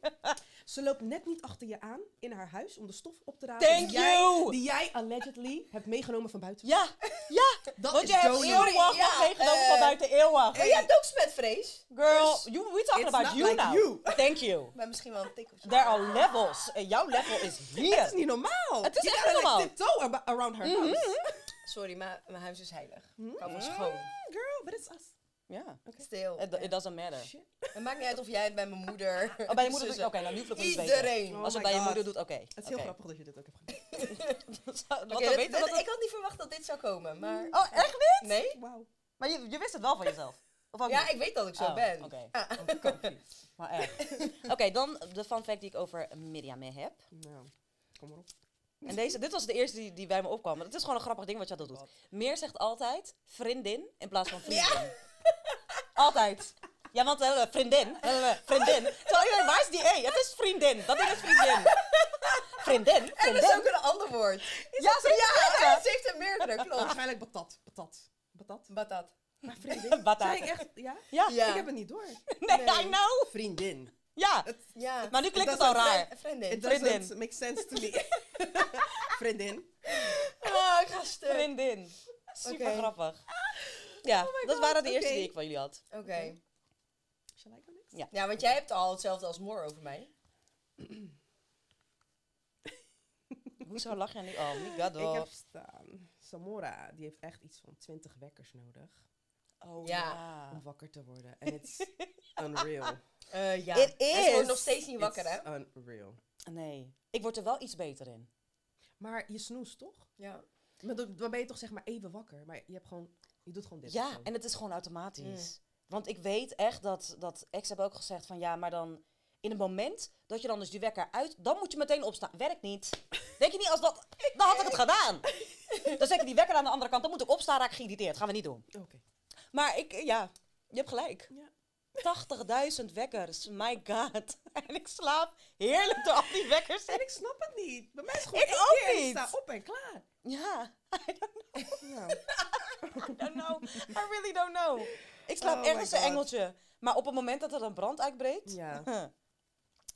Speaker 3: Ze loopt net niet achter je aan in haar huis om de stof op te rapen
Speaker 2: Thank
Speaker 3: die, jij,
Speaker 2: you.
Speaker 3: die jij allegedly hebt meegenomen van buiten.
Speaker 2: Ja, ja,
Speaker 3: Dat
Speaker 2: want
Speaker 3: is
Speaker 2: je hebt
Speaker 3: Jolie.
Speaker 2: eeuwig
Speaker 1: Ja,
Speaker 2: meegenomen
Speaker 1: eh,
Speaker 2: van buiten eeuwig.
Speaker 1: Maar je hebt ook smetvrees.
Speaker 2: Girl, you, we talking
Speaker 3: it's
Speaker 2: about
Speaker 3: not
Speaker 2: you
Speaker 3: like
Speaker 2: now.
Speaker 3: you.
Speaker 2: Thank you.
Speaker 1: Maar misschien wel een tikkeltje.
Speaker 2: There are levels. En jouw level is
Speaker 3: Dat is
Speaker 2: hier.
Speaker 3: niet normaal.
Speaker 2: Het is
Speaker 3: Je
Speaker 2: echt
Speaker 3: gaat like
Speaker 2: normaal. Mhm.
Speaker 3: tiptoe ab- around her house.
Speaker 1: Sorry, maar mijn huis is heilig.
Speaker 2: Hm?
Speaker 1: Ik hou van schoon.
Speaker 3: Girl, but it's us.
Speaker 2: Ja.
Speaker 1: Stil.
Speaker 2: It, it doesn't matter.
Speaker 3: Shit.
Speaker 1: Het maakt niet uit of jij het bij mijn moeder.
Speaker 2: Oh, bij je moeder doet Oké,
Speaker 1: zussen.
Speaker 2: nou nu vloek ik het beter.
Speaker 1: Iedereen.
Speaker 3: Oh
Speaker 2: Als het
Speaker 3: my
Speaker 2: bij je
Speaker 3: God.
Speaker 2: moeder doet, oké.
Speaker 3: Het is heel
Speaker 2: Oké.
Speaker 3: grappig dat je dit ook hebt gedaan.
Speaker 2: Laat
Speaker 1: Oké,
Speaker 2: dan
Speaker 1: dit-
Speaker 2: weten dat
Speaker 1: dit-
Speaker 2: het-
Speaker 1: Ik had niet verwacht dat dit zou komen, maar...
Speaker 2: Oh, echt niet?
Speaker 1: Nee?
Speaker 3: Wauw.
Speaker 2: Maar je, je wist het wel van jezelf? Of ook
Speaker 1: Ja,
Speaker 2: niet?
Speaker 1: ik weet dat ik zo
Speaker 2: Oh,
Speaker 1: ben.
Speaker 2: oké.
Speaker 1: Ah.
Speaker 2: Maar echt. Oké, dan de fun fact die ik over Miriam heb.
Speaker 3: Nou, kom maar op.
Speaker 2: En deze, dit was de eerste die, die bij me opkwam. Het is gewoon een grappig ding wat je dat doet. Meer zegt altijd vriendin in plaats van vriendin. Altijd. Ja, want eh, vriendin. eh, vriendin. Terwijl iedereen, waar is die E? Het is vriendin. Dat ding is vriendin. Vriendin.
Speaker 1: En dat is
Speaker 2: Vriendin.
Speaker 1: ook een ander woord.
Speaker 2: Ja, ze
Speaker 1: Ja, ze heeft er meerdere, klopt.
Speaker 3: Nou, Waarschijnlijk patat. Patat. Patat.
Speaker 1: Batat.
Speaker 3: Maar vriendin.
Speaker 2: Batata.
Speaker 3: Zei ik echt, ja?
Speaker 2: Ja.
Speaker 1: Ja.
Speaker 3: Ik heb het niet door.
Speaker 2: Nee, I know.
Speaker 3: Vriendin.
Speaker 2: Ja.
Speaker 1: Ja.
Speaker 2: Maar nu klinkt
Speaker 3: Dat
Speaker 2: het al
Speaker 3: is een
Speaker 2: raar.
Speaker 1: Een vriendin.
Speaker 3: It
Speaker 2: Vriendin.
Speaker 3: doesn't make sense to me. vriendin.
Speaker 1: Ah, ik ga stuk.
Speaker 2: Vriendin. Super
Speaker 1: Oké. Ah. Oh
Speaker 2: grappig. Ja, dat waren de eerste
Speaker 3: oké.
Speaker 2: die ik van jullie had.
Speaker 1: Oké.
Speaker 3: Shall I go next?
Speaker 1: Ja, want jij hebt al hetzelfde als Moor over mij.
Speaker 2: Hoezo lach je nu al? Oh, my god,
Speaker 3: Ik heb
Speaker 2: hoor.
Speaker 3: staan. Samora, die heeft echt iets van 20 wekkers nodig
Speaker 2: Oh
Speaker 1: Ja.
Speaker 2: ja.
Speaker 3: om wakker te worden. En it's unreal.
Speaker 1: Eh, ja.
Speaker 2: It
Speaker 1: En ze
Speaker 2: is.
Speaker 1: wordt nog steeds niet wakker, hè?
Speaker 3: It's unreal.
Speaker 2: Nee. Ik word er wel iets beter in.
Speaker 3: Maar je snoest toch?
Speaker 1: Ja.
Speaker 3: Maar dan dan ben je toch zeg maar even wakker. Maar je hebt gewoon, je doet gewoon dit. Mm. of
Speaker 2: Ja,
Speaker 3: zo.
Speaker 2: en het is gewoon automatisch. Want ik weet echt dat, dat ex hebben ook gezegd van ja, maar dan in het moment dat je dan dus die wekker uit, dan moet je meteen opstaan. Werkt niet. Denk je niet als dat, dan had ik het gedaan. Dan zet ik die wekker aan de andere kant, dan moet ik opstaan, raak ik geïrriteerd. Gaan we niet doen.
Speaker 3: Oké.
Speaker 2: Maar ik, eh, ja, je hebt gelijk.
Speaker 3: Ja.
Speaker 2: 80.000 wekkers, my god. En ik slaap heerlijk door al die wekkers.
Speaker 3: En ik snap het niet. Bij mij is het gewoon
Speaker 2: Ik
Speaker 3: één
Speaker 2: ook
Speaker 3: keer en ik
Speaker 2: niet.
Speaker 3: sta op en klaar.
Speaker 2: Ja,
Speaker 3: Nou,
Speaker 2: I don't know. I really don't know. Ik slaap
Speaker 3: Oh my
Speaker 2: ergens een
Speaker 3: God. Mm.
Speaker 2: engeltje. Maar op het moment dat er een brand uitbreekt,
Speaker 3: ja.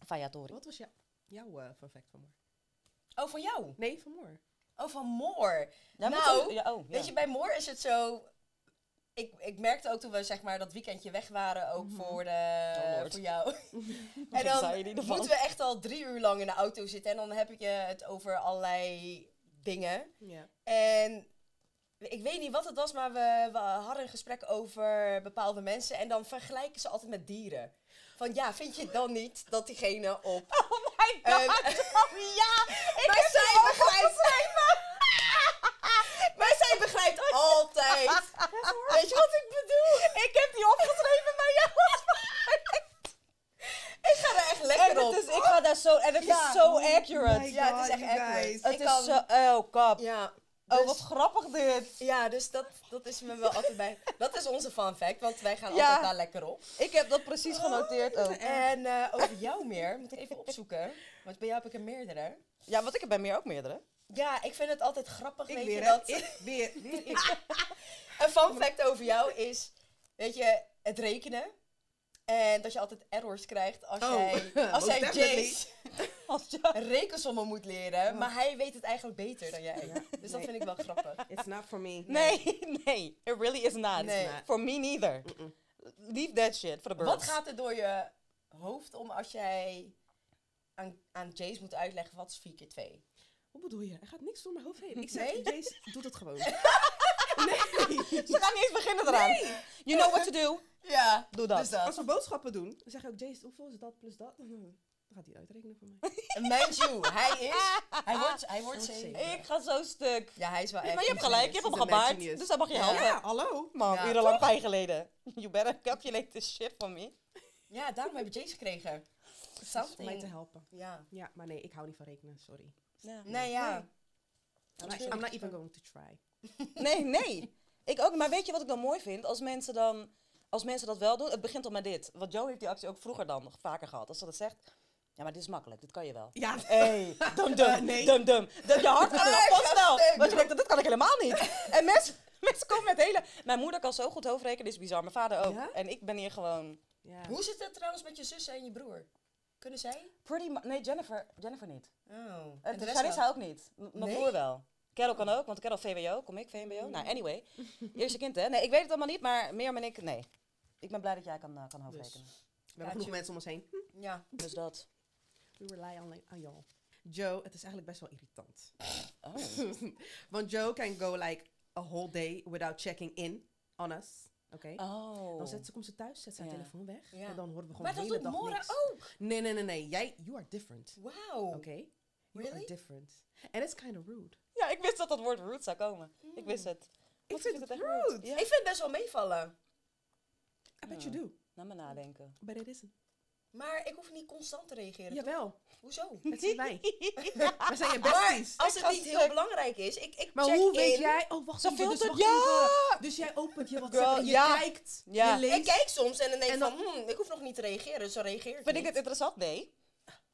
Speaker 2: Fayatori.
Speaker 3: Wat was jou- jouw eh fun fact van Moor?
Speaker 1: Oh, van jou?
Speaker 3: Nee, van Moor.
Speaker 1: Oh, van Moor.
Speaker 2: Ja,
Speaker 1: Nou,
Speaker 2: moet ook- ja, oh,
Speaker 1: Weet
Speaker 2: ja.
Speaker 1: je, bij Moor is het zo... Ik, ik merkte ook toen we zeg maar, dat weekendje weg waren, ook voor, de,
Speaker 2: Mhm. Oh, Lord.
Speaker 1: voor jou. en
Speaker 2: Wat zei
Speaker 1: dan
Speaker 2: je in ieder geval?
Speaker 1: moeten we echt al drie uur lang in de auto zitten. En dan heb je het over allerlei dingen.
Speaker 3: Ja.
Speaker 1: En ik weet niet wat het was, maar we, we hadden een gesprek over bepaalde mensen. En dan vergelijken ze altijd met dieren. Van ja, vind je dan niet dat diegene op...
Speaker 2: Oh my god!
Speaker 1: Ehm,
Speaker 2: oh, ja! Ik
Speaker 1: Maar
Speaker 2: heb
Speaker 1: zij
Speaker 2: het ook
Speaker 1: begrijpt- maar zij begrijpt altijd. Weet je wat ik bedoel?
Speaker 2: opgeschreven. Ik heb die opgeschreven, maar ja, wat
Speaker 1: Ik ga er echt lekker
Speaker 2: En
Speaker 1: op.
Speaker 2: het is, ik ga daar zo... En het
Speaker 1: Ja.
Speaker 2: is zo
Speaker 3: my
Speaker 2: accurate.
Speaker 1: ja, het is
Speaker 3: God,
Speaker 1: echt
Speaker 3: you
Speaker 1: accurate.
Speaker 3: guys.
Speaker 2: Het
Speaker 1: Ik
Speaker 2: is
Speaker 1: kan-
Speaker 2: zo... Oh, kap.
Speaker 1: Ja.
Speaker 2: Oh,
Speaker 1: dus-
Speaker 2: wat grappig dit.
Speaker 1: Ja, dus dat, dat is me wel altijd bij. Dat is onze fun fact, want wij gaan
Speaker 2: Ja.
Speaker 1: altijd daar lekker op.
Speaker 2: Ik heb dat precies genoteerd ook.
Speaker 1: En eh, over jou meer, moet ik even opzoeken. Want bij jou heb ik er meerdere.
Speaker 2: Ja, want ik heb bij meer ook meerdere.
Speaker 1: Ja, ik vind het altijd grappig,
Speaker 3: Ik
Speaker 1: weet
Speaker 3: weer,
Speaker 1: je,
Speaker 3: hè?
Speaker 1: dat...
Speaker 3: Ik weer. weer ik.
Speaker 1: Een fun fact over jou is, weet je, het rekenen. En dat je altijd errors krijgt als
Speaker 3: Oh,
Speaker 1: jij, als
Speaker 3: most
Speaker 1: jij
Speaker 3: definitely.
Speaker 1: Jay's
Speaker 2: Als je...
Speaker 1: rekensommen moet leren. Maar hij weet het eigenlijk beter dan jij.
Speaker 3: Ja.
Speaker 1: Dus dat
Speaker 3: Nee.
Speaker 1: vind ik wel grappig.
Speaker 3: It's not for me.
Speaker 2: Nee, nee. It really is not.
Speaker 1: Nee.
Speaker 2: For me neither.
Speaker 3: Mm-mm.
Speaker 2: Leave that shit for the birds.
Speaker 1: Wat gaat er door je hoofd om als jij aan, aan Jace moet uitleggen wat is 4 keer 2?
Speaker 3: Hoe bedoel je? Er gaat niks door mijn hoofd heen. Ik
Speaker 1: Nee?
Speaker 3: zeg, Jace, doe het gewoon.
Speaker 2: Ze gaan niet eens beginnen eraan. You know what to do.
Speaker 1: Ja,
Speaker 2: Doe dat.
Speaker 1: Dus dat.
Speaker 3: Als we boodschappen doen, dan zeg je ook, Jace, hoeveel is dat plus dat? Dan gaat hij uitrekenen voor mij.
Speaker 1: Mind you, hij is... Hij wordt, hij wordt
Speaker 3: Hij wordt
Speaker 1: zeven.
Speaker 3: zeven.
Speaker 2: Ik ga zo stuk.
Speaker 1: Ja, hij is wel echt...
Speaker 2: maar je hebt gelijk, je hebt hem
Speaker 3: Ze zijn mensen
Speaker 2: gebaard,
Speaker 3: niet eens.
Speaker 2: dus dat mag je
Speaker 1: Ja.
Speaker 2: helpen.
Speaker 3: Ja, hallo.
Speaker 2: Man,
Speaker 1: Ja,
Speaker 2: urenlang pijn geleden. You better calculate this shit for me.
Speaker 1: Ja, daarom heb ik Jace gekregen.
Speaker 3: Dat is om mij te
Speaker 1: Something.
Speaker 3: helpen.
Speaker 1: Ja.
Speaker 3: Ja, maar nee, ik hou niet van rekenen, sorry.
Speaker 1: Nee, ja.
Speaker 3: I'm not- I'm not even going to try.
Speaker 2: Nee, nee. Ik ook, maar weet je wat ik dan mooi vind? Als mensen dan, als mensen dat wel doen, het begint al met dit. Want Joe heeft die actie ook vroeger dan nog vaker gehad. Als ze dat zegt, ja, maar dit is makkelijk, dit kan je wel.
Speaker 3: Ja,
Speaker 2: Hé, dum dum,
Speaker 3: Eh, nee.
Speaker 2: dum dum. Dat- Je hart gaat
Speaker 1: Ah,
Speaker 2: kapot
Speaker 1: ja,
Speaker 2: snel.
Speaker 1: stuk.
Speaker 2: Want je denkt, dat kan ik helemaal niet. En mensen, mensen komen met hele... Mijn moeder kan zo goed hoofdrekenen, is bizar. Mijn vader ook.
Speaker 3: Ja?
Speaker 2: En ik ben hier gewoon...
Speaker 3: ja.
Speaker 1: Hoe zit het trouwens met je zussen en je broer? Kunnen zij?
Speaker 2: Pretty mu- Nee, Jennifer, Jennifer niet.
Speaker 1: Oh.
Speaker 2: En Charissa ook niet. M- Mijn
Speaker 1: Nee?
Speaker 2: broer wel. Carol kan ook, want Carol VWO, kom ik VMBO.
Speaker 3: Mm.
Speaker 2: Nou, anyway. Eerste kind, hè? Nee, ik weet het allemaal niet, maar meer en ik, nee. Ik ben blij dat jij kan, eh, kan hoofdrekenen. Dus.
Speaker 3: We hebben genoeg mensen om ons heen. Hm.
Speaker 1: Ja.
Speaker 2: dat.
Speaker 3: We rely on, on y'all. Joe, het is eigenlijk best wel irritant.
Speaker 2: Oh.
Speaker 3: Want Joe can go like a whole day without checking in on us. Oké?
Speaker 2: Oh.
Speaker 3: Dan zet ze, komt ze thuis, zet ze haar
Speaker 2: Ja.
Speaker 3: telefoon weg.
Speaker 1: Ja.
Speaker 3: En dan horen we gewoon
Speaker 1: Maar
Speaker 3: de
Speaker 1: dat
Speaker 3: hele
Speaker 1: doet
Speaker 3: dag
Speaker 1: Mora
Speaker 3: niks.
Speaker 1: ook.
Speaker 3: Nee, nee, nee, nee. Jij, you are different.
Speaker 1: Wauw.
Speaker 3: Oké? You
Speaker 1: Really?
Speaker 3: are different. And it's kind of rude.
Speaker 2: Ja, ik wist dat dat woord root zou komen. Ik wist het. Want
Speaker 3: vind
Speaker 2: ik
Speaker 3: het
Speaker 2: echt
Speaker 3: rude.
Speaker 2: Ja.
Speaker 1: Ik vind het best wel meevallen.
Speaker 3: I bet you do.
Speaker 2: Laat me nadenken.
Speaker 3: But it isn't.
Speaker 1: Maar ik hoef niet constant te reageren.
Speaker 3: Jawel.
Speaker 1: toch? Hoezo?
Speaker 3: Het zijn wij. We zijn je
Speaker 1: Maar
Speaker 3: besties.
Speaker 1: als
Speaker 2: Ik
Speaker 1: het
Speaker 2: ga
Speaker 1: niet heel
Speaker 2: stuk.
Speaker 1: belangrijk is, ik, ik
Speaker 3: Maar
Speaker 1: check
Speaker 3: hoe
Speaker 1: in.
Speaker 3: weet jij? Oh, wacht
Speaker 2: Ze
Speaker 3: even, dus
Speaker 2: filtert,
Speaker 3: wacht
Speaker 2: ja!
Speaker 3: even. Dus jij opent je WhatsApp
Speaker 2: Girl,
Speaker 3: en je
Speaker 2: ja.
Speaker 3: kijkt,
Speaker 2: Ja.
Speaker 3: je leest.
Speaker 1: Ik kijk soms en dan denk ik
Speaker 3: dus? En
Speaker 1: van, hmm, ik hoef nog niet te reageren, dus dan reageer ik
Speaker 2: Vind ik
Speaker 1: niet.
Speaker 2: het interessant? Nee.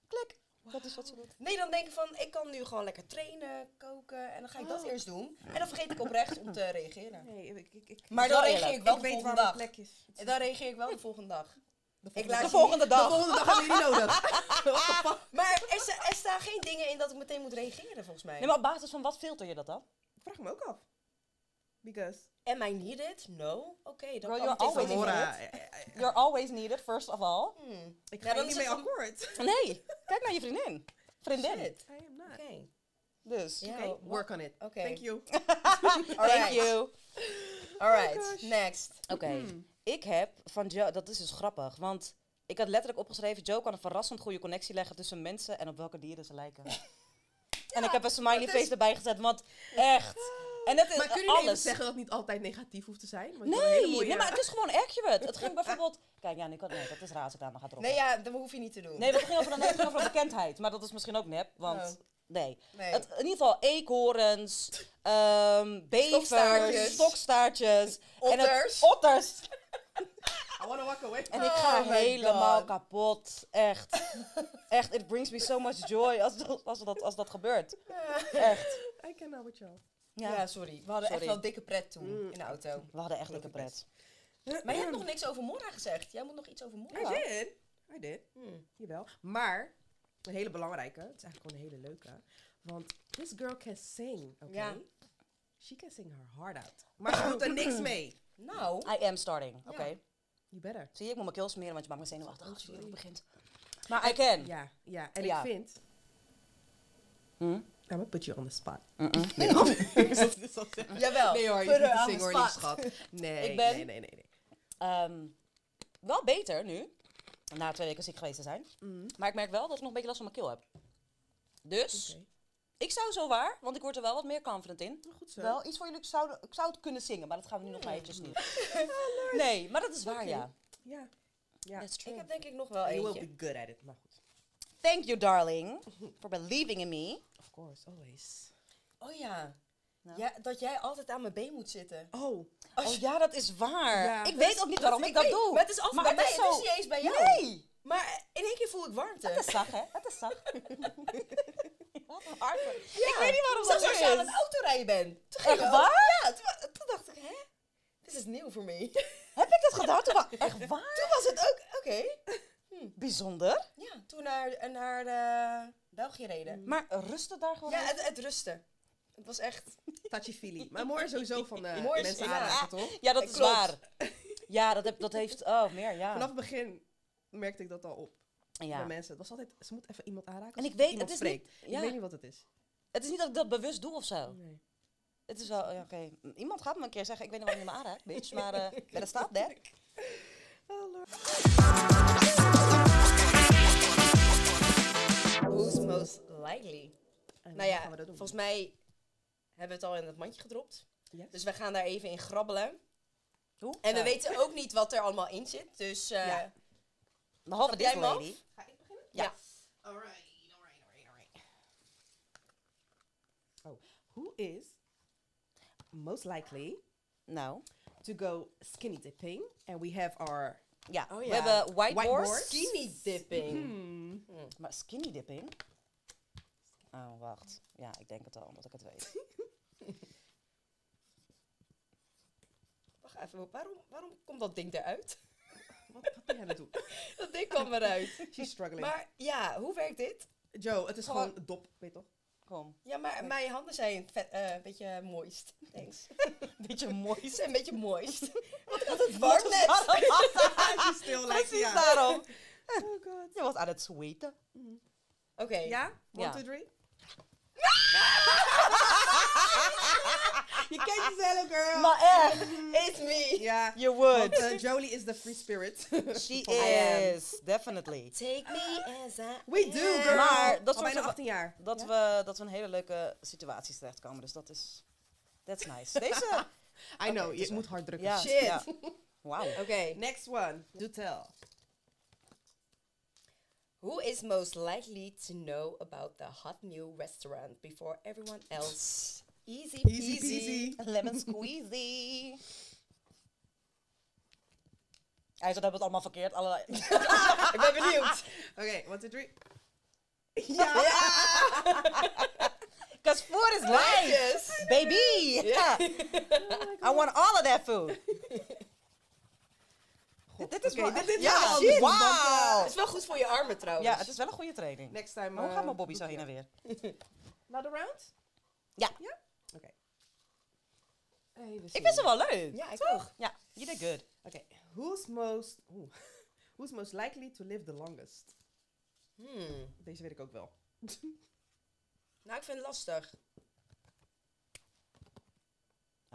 Speaker 2: Klik. Dat is wat ze doet.
Speaker 1: Nee, dan denk ik van, ik kan nu gewoon lekker trainen, koken en dan ga ik dat
Speaker 3: Oh.
Speaker 1: eerst doen. En dan vergeet ik oprecht om te reageren.
Speaker 3: Nee, ik, ik, ik,
Speaker 1: Maar
Speaker 2: Dat
Speaker 1: dan
Speaker 2: is wel
Speaker 1: reageer
Speaker 2: eerlijk.
Speaker 1: ik wel
Speaker 3: ik
Speaker 1: de
Speaker 3: weet waar
Speaker 1: volgende
Speaker 3: mijn
Speaker 1: dag.
Speaker 3: plek is.
Speaker 1: En dan reageer ik wel de volgende dag.
Speaker 3: De
Speaker 1: Ik
Speaker 3: volgende
Speaker 1: laat
Speaker 2: De
Speaker 1: je
Speaker 2: volgende
Speaker 3: dag. De
Speaker 2: dag.
Speaker 3: volgende dag hebben jullie nodig. What the fuck?
Speaker 1: Maar er, sta- er staan geen dingen in dat ik meteen moet reageren, volgens mij.
Speaker 2: Nee, maar op basis van wat filter je dat dan?
Speaker 3: Vraag me ook af. Because...
Speaker 1: Am I needed? No? Oké, dan kan
Speaker 2: Girl, you're
Speaker 1: Oh, het even
Speaker 2: always
Speaker 1: niet.
Speaker 2: needed.
Speaker 3: Samora,
Speaker 2: You're always needed, first of all.
Speaker 1: Hmm.
Speaker 3: eh, ik
Speaker 1: Ja, dan
Speaker 3: ga hier niet
Speaker 1: is
Speaker 3: mee
Speaker 1: het van-
Speaker 3: akkoord.
Speaker 2: Nee, kijk naar je vriendin. Vriendin.
Speaker 1: Shit.
Speaker 3: I am
Speaker 1: Oké.
Speaker 3: not.
Speaker 2: Dus.
Speaker 1: Ja.
Speaker 3: Oké,
Speaker 1: Oh,
Speaker 3: work on it.
Speaker 1: Oké.
Speaker 3: Thank you.
Speaker 2: Thank you.
Speaker 1: Alright,
Speaker 3: gosh.
Speaker 1: next.
Speaker 2: Oké,
Speaker 3: Hmm.
Speaker 2: ik heb van Joe, dat is dus grappig, want ik had letterlijk opgeschreven, Joe kan een verrassend goede connectie leggen tussen mensen en op welke dieren ze lijken. en ik heb een smiley
Speaker 3: dat
Speaker 2: face erbij gezet, want echt. En dat is
Speaker 3: Maar kunnen jullie even
Speaker 2: alles.
Speaker 3: zeggen dat het niet altijd negatief hoeft te zijn? Want je hebt een
Speaker 2: nee,
Speaker 3: hele mooie-
Speaker 2: nee, maar het is gewoon accurate. Het ging bijvoorbeeld, kijk, ja, nu kan, nee, dat is raar als ik daar maar ga droppen.
Speaker 1: Nee, ja, dat hoef je niet te doen.
Speaker 2: Nee, dat ging over, nee, het ging over een bekendheid, maar dat is misschien ook nep, want
Speaker 1: Oh.
Speaker 2: nee.
Speaker 1: Nee.
Speaker 2: Het- in ieder geval eekhoorns, ehm bevers,
Speaker 1: Stokstaartjes.
Speaker 2: stokstaartjes. en het-
Speaker 1: Otters.
Speaker 2: otters.
Speaker 3: I wanna walk away.
Speaker 2: En ik
Speaker 1: Oh
Speaker 2: ga
Speaker 1: my
Speaker 2: helemaal
Speaker 1: God.
Speaker 2: kapot. Echt. Echt, it brings me so much joy als dat, als dat, als dat gebeurt. Echt.
Speaker 3: I can now with you.
Speaker 1: ja.
Speaker 2: Ja.
Speaker 1: sorry. We hadden
Speaker 2: Sorry.
Speaker 1: echt wel dikke pret toen
Speaker 3: Mm.
Speaker 1: in de auto.
Speaker 2: We hadden echt lekker pret.
Speaker 1: Maar je
Speaker 2: Mm.
Speaker 1: hebt nog niks over Mora gezegd. Jij moet nog iets over
Speaker 3: I
Speaker 1: Mora.
Speaker 3: did. I did.
Speaker 1: Hmm.
Speaker 3: Jawel. Maar, een hele belangrijke. Het is eigenlijk gewoon een hele leuke. Want this girl can sing, oké?
Speaker 1: Ja.
Speaker 3: She can sing her heart out. Maar ze doet er niks mee.
Speaker 1: Nou,
Speaker 2: I am starting. Oké.
Speaker 1: Ja.
Speaker 3: You better.
Speaker 2: Zie je, ik moet mijn keel smeren, want je maakt me zenuwachtig
Speaker 3: Oh,
Speaker 2: als je
Speaker 3: sorry.
Speaker 2: hierop begint. Maar I can.
Speaker 3: Ja, ja. En
Speaker 2: Ja.
Speaker 3: ik vind...
Speaker 2: Hm?
Speaker 3: I'm gonna put you on the spot.
Speaker 2: Mm-mm.
Speaker 3: Nee, hoor. Ik zal- ik zal
Speaker 2: Ah.
Speaker 3: zeggen.
Speaker 1: jawel.
Speaker 3: Nee hoor, je
Speaker 1: Put
Speaker 3: hoeft
Speaker 1: her
Speaker 3: niet te
Speaker 1: on the
Speaker 3: zingen hoor, lief
Speaker 1: spot.
Speaker 3: schat. Nee,
Speaker 2: Ik ben-
Speaker 3: nee, nee, nee. nee.
Speaker 2: Ehm, wel beter nu. Na twee weken ziek geweest te zijn.
Speaker 1: Mm.
Speaker 2: Maar ik merk wel dat ik nog een beetje last van mijn keel heb. Dus,
Speaker 3: Oké.
Speaker 2: ik zou zo waar, want ik word er wel wat meer confident in.
Speaker 3: Nou, goed zo.
Speaker 2: Wel iets voor jullie. Ik zou, ik zou het kunnen zingen, maar dat gaan we nu nog maar eventjes niet. Nee, maar dat is waar,
Speaker 3: Oké.
Speaker 2: ja.
Speaker 3: Ja. Ja.
Speaker 2: That's
Speaker 1: Ik
Speaker 2: true.
Speaker 1: heb denk ik nog wel
Speaker 3: You will
Speaker 1: eentje.
Speaker 3: be good at it. Maar goed.
Speaker 2: Thank you, darling, for believing in me.
Speaker 3: Of course, always.
Speaker 1: Oh ja.
Speaker 2: Nou.
Speaker 1: ja. Dat jij altijd aan mijn been moet zitten.
Speaker 3: Oh,
Speaker 2: Oh ja, dat is waar.
Speaker 3: Ja,
Speaker 2: ik
Speaker 3: dat
Speaker 2: weet ook niet waarom ik dat
Speaker 1: weet-
Speaker 2: doe.
Speaker 1: Maar het is altijd
Speaker 2: Maar
Speaker 1: bij
Speaker 2: het
Speaker 1: mij. Het
Speaker 2: is
Speaker 1: is
Speaker 2: zo-
Speaker 1: niet eens bij jou.
Speaker 2: Nee,
Speaker 1: Maar in één keer voel ik warmte.
Speaker 2: het is zacht, hè? Het is zacht. Wat een hard.
Speaker 1: Ja.
Speaker 2: Ik weet niet waarom
Speaker 1: Zelfs
Speaker 2: dat zo
Speaker 1: als je aan het
Speaker 2: is.
Speaker 1: autorijden bent. Toen ging
Speaker 2: Echt
Speaker 1: je ook-
Speaker 2: waar?
Speaker 1: Ja, toen, toen dacht ik, hè? Dit is nieuw voor mij.
Speaker 2: Heb ik dat gedaan? Toen wa- echt waar?
Speaker 1: Toen was het ook, oké.
Speaker 2: Bijzonder.
Speaker 1: Ja, toen naar, naar eh, België reden.
Speaker 2: Maar rustte daar gewoon.
Speaker 1: Ja,
Speaker 2: aan?
Speaker 1: het, het rusten. Het was echt...
Speaker 3: touchy-feely. Maar mooi is sowieso van eh
Speaker 1: Moor is-
Speaker 3: mensen
Speaker 1: ja.
Speaker 3: aanraken, toch?
Speaker 2: ja dat is
Speaker 1: klopt.
Speaker 2: waar. Ja, dat, heb, dat heeft. Oh, meer, ja.
Speaker 3: Vanaf het begin merkte ik dat al op bij
Speaker 2: ja.
Speaker 3: mensen. Het was altijd, ze moet even iemand aanraken.
Speaker 2: En
Speaker 3: als
Speaker 2: ik weet,
Speaker 3: iemand
Speaker 2: het is,
Speaker 3: spreekt.
Speaker 2: niet,
Speaker 3: Ik
Speaker 2: ja,
Speaker 3: weet niet wat het is.
Speaker 2: het is niet dat ik dat bewust doe of zo.
Speaker 3: Nee.
Speaker 2: Het is wel, ja, oké. Iemand gaat me een keer zeggen, ik weet niet waarom je me aanraakt, bitch. Maar eh dat staat daar.
Speaker 3: Oh,
Speaker 1: Who's most likely?
Speaker 3: En
Speaker 1: Nou
Speaker 3: gaan we
Speaker 1: ja,
Speaker 3: dat doen.
Speaker 1: volgens mij hebben we het al in het mandje gedropt.
Speaker 3: Yes.
Speaker 1: Dus we gaan daar even in grabbelen.
Speaker 2: Hoe?
Speaker 1: En we
Speaker 2: Ja.
Speaker 1: weten ook niet wat er allemaal in zit. Dus eh,
Speaker 3: Ja.
Speaker 2: Behalve
Speaker 1: Heb
Speaker 2: dit
Speaker 1: jij hem af?
Speaker 2: lady.
Speaker 4: Ga ik beginnen?
Speaker 1: Ja.
Speaker 4: Alright, alright, alright, alright.
Speaker 3: Who is most likely
Speaker 2: Nou,
Speaker 3: to go skinny dipping? And we have our...
Speaker 2: ja.
Speaker 1: Oh
Speaker 2: We
Speaker 1: ja.
Speaker 2: hebben white,
Speaker 3: Whiteboard.
Speaker 2: horse.
Speaker 1: skinny dipping.
Speaker 3: Hmm.
Speaker 2: Maar skinny dipping? Oh, wacht. Ja, ik denk het al, omdat ik het weet.
Speaker 1: Wacht even, waarom, waarom komt dat ding eruit?
Speaker 3: Wat, wat ben jij aan het doen?
Speaker 1: Dat ding kwam eruit.
Speaker 3: She's struggling.
Speaker 1: Maar ja, hoe werkt dit?
Speaker 3: Joe, het is
Speaker 2: Gewoon-
Speaker 3: gewoon, dop, weet je toch?
Speaker 2: Kom.
Speaker 1: Ja, maar mijn handen zijn vet- eh, een beetje moist. Thanks.
Speaker 2: Beetje mooi.
Speaker 1: Ze zijn een beetje moist. Want ik had het warm net.
Speaker 3: She's still like,
Speaker 2: Precies
Speaker 3: ja.
Speaker 2: daarom.
Speaker 3: Oh god.
Speaker 2: Je was aan het zweten.
Speaker 1: Oké.
Speaker 3: Ja? One,
Speaker 2: Ja.
Speaker 3: two, three. je kent jezelf, girl.
Speaker 2: Maar echt,
Speaker 1: It's me.
Speaker 3: ja.
Speaker 2: you
Speaker 3: Want,
Speaker 2: would.
Speaker 3: eh, Jolie is the free spirit.
Speaker 2: She
Speaker 1: I am.
Speaker 2: is, definitely.
Speaker 1: Take me as I
Speaker 3: We do,
Speaker 1: am.
Speaker 3: girl.
Speaker 2: Maar dat
Speaker 3: Al
Speaker 2: soort
Speaker 3: bijna
Speaker 2: van-
Speaker 3: 18 jaar.
Speaker 2: Dat,
Speaker 3: Ja?
Speaker 2: we, dat we in hele leuke situaties terechtkomen. Dus dat is. That's nice. Deze.
Speaker 3: I know,
Speaker 2: het is
Speaker 3: je
Speaker 2: wel-
Speaker 3: moet hard drukken.
Speaker 2: ja,
Speaker 1: Shit.
Speaker 2: ja. Wauw.
Speaker 1: Oké.
Speaker 3: dus Next one. Do tell.
Speaker 1: Who is most likely to know about the hot new restaurant before everyone else? Easy peasy.
Speaker 3: Easy peasy.
Speaker 2: Lemon squeezy. Hij zat hebben het allemaal verkeerd. Allerlei.
Speaker 1: Ik ben benieuwd.
Speaker 3: Oké, one, two, three. ja.
Speaker 2: Cause food is life,
Speaker 1: Yes.
Speaker 2: baby.
Speaker 1: Ja.
Speaker 2: I want all of that food.
Speaker 3: God,
Speaker 2: Dit is
Speaker 3: oké,
Speaker 2: wel
Speaker 3: dit-
Speaker 2: echt-
Speaker 3: dit is
Speaker 2: ja,
Speaker 3: wel
Speaker 2: shit.
Speaker 3: anders, want,
Speaker 2: Wauw.
Speaker 1: Het is wel goed voor je armen trouwens.
Speaker 2: Ja, het is wel een goede training.
Speaker 3: eh, Next time.
Speaker 2: Maar hoe
Speaker 3: eh,
Speaker 2: gaat mijn Bobby zo
Speaker 3: doe
Speaker 2: heen en
Speaker 3: tell.
Speaker 2: weer?
Speaker 3: Another round?
Speaker 2: Ja.
Speaker 3: Ja? Oké. Even
Speaker 2: Ik vind ze
Speaker 3: zien.
Speaker 2: wel leuk.
Speaker 1: Ja, ik
Speaker 2: Toch?
Speaker 1: ook.
Speaker 2: Ja, you did good.
Speaker 3: Oké, who's most... oeh, who's most likely to live the longest?
Speaker 1: Hmm.
Speaker 3: Deze weet ik ook wel.
Speaker 1: Nou, ik vind het lastig.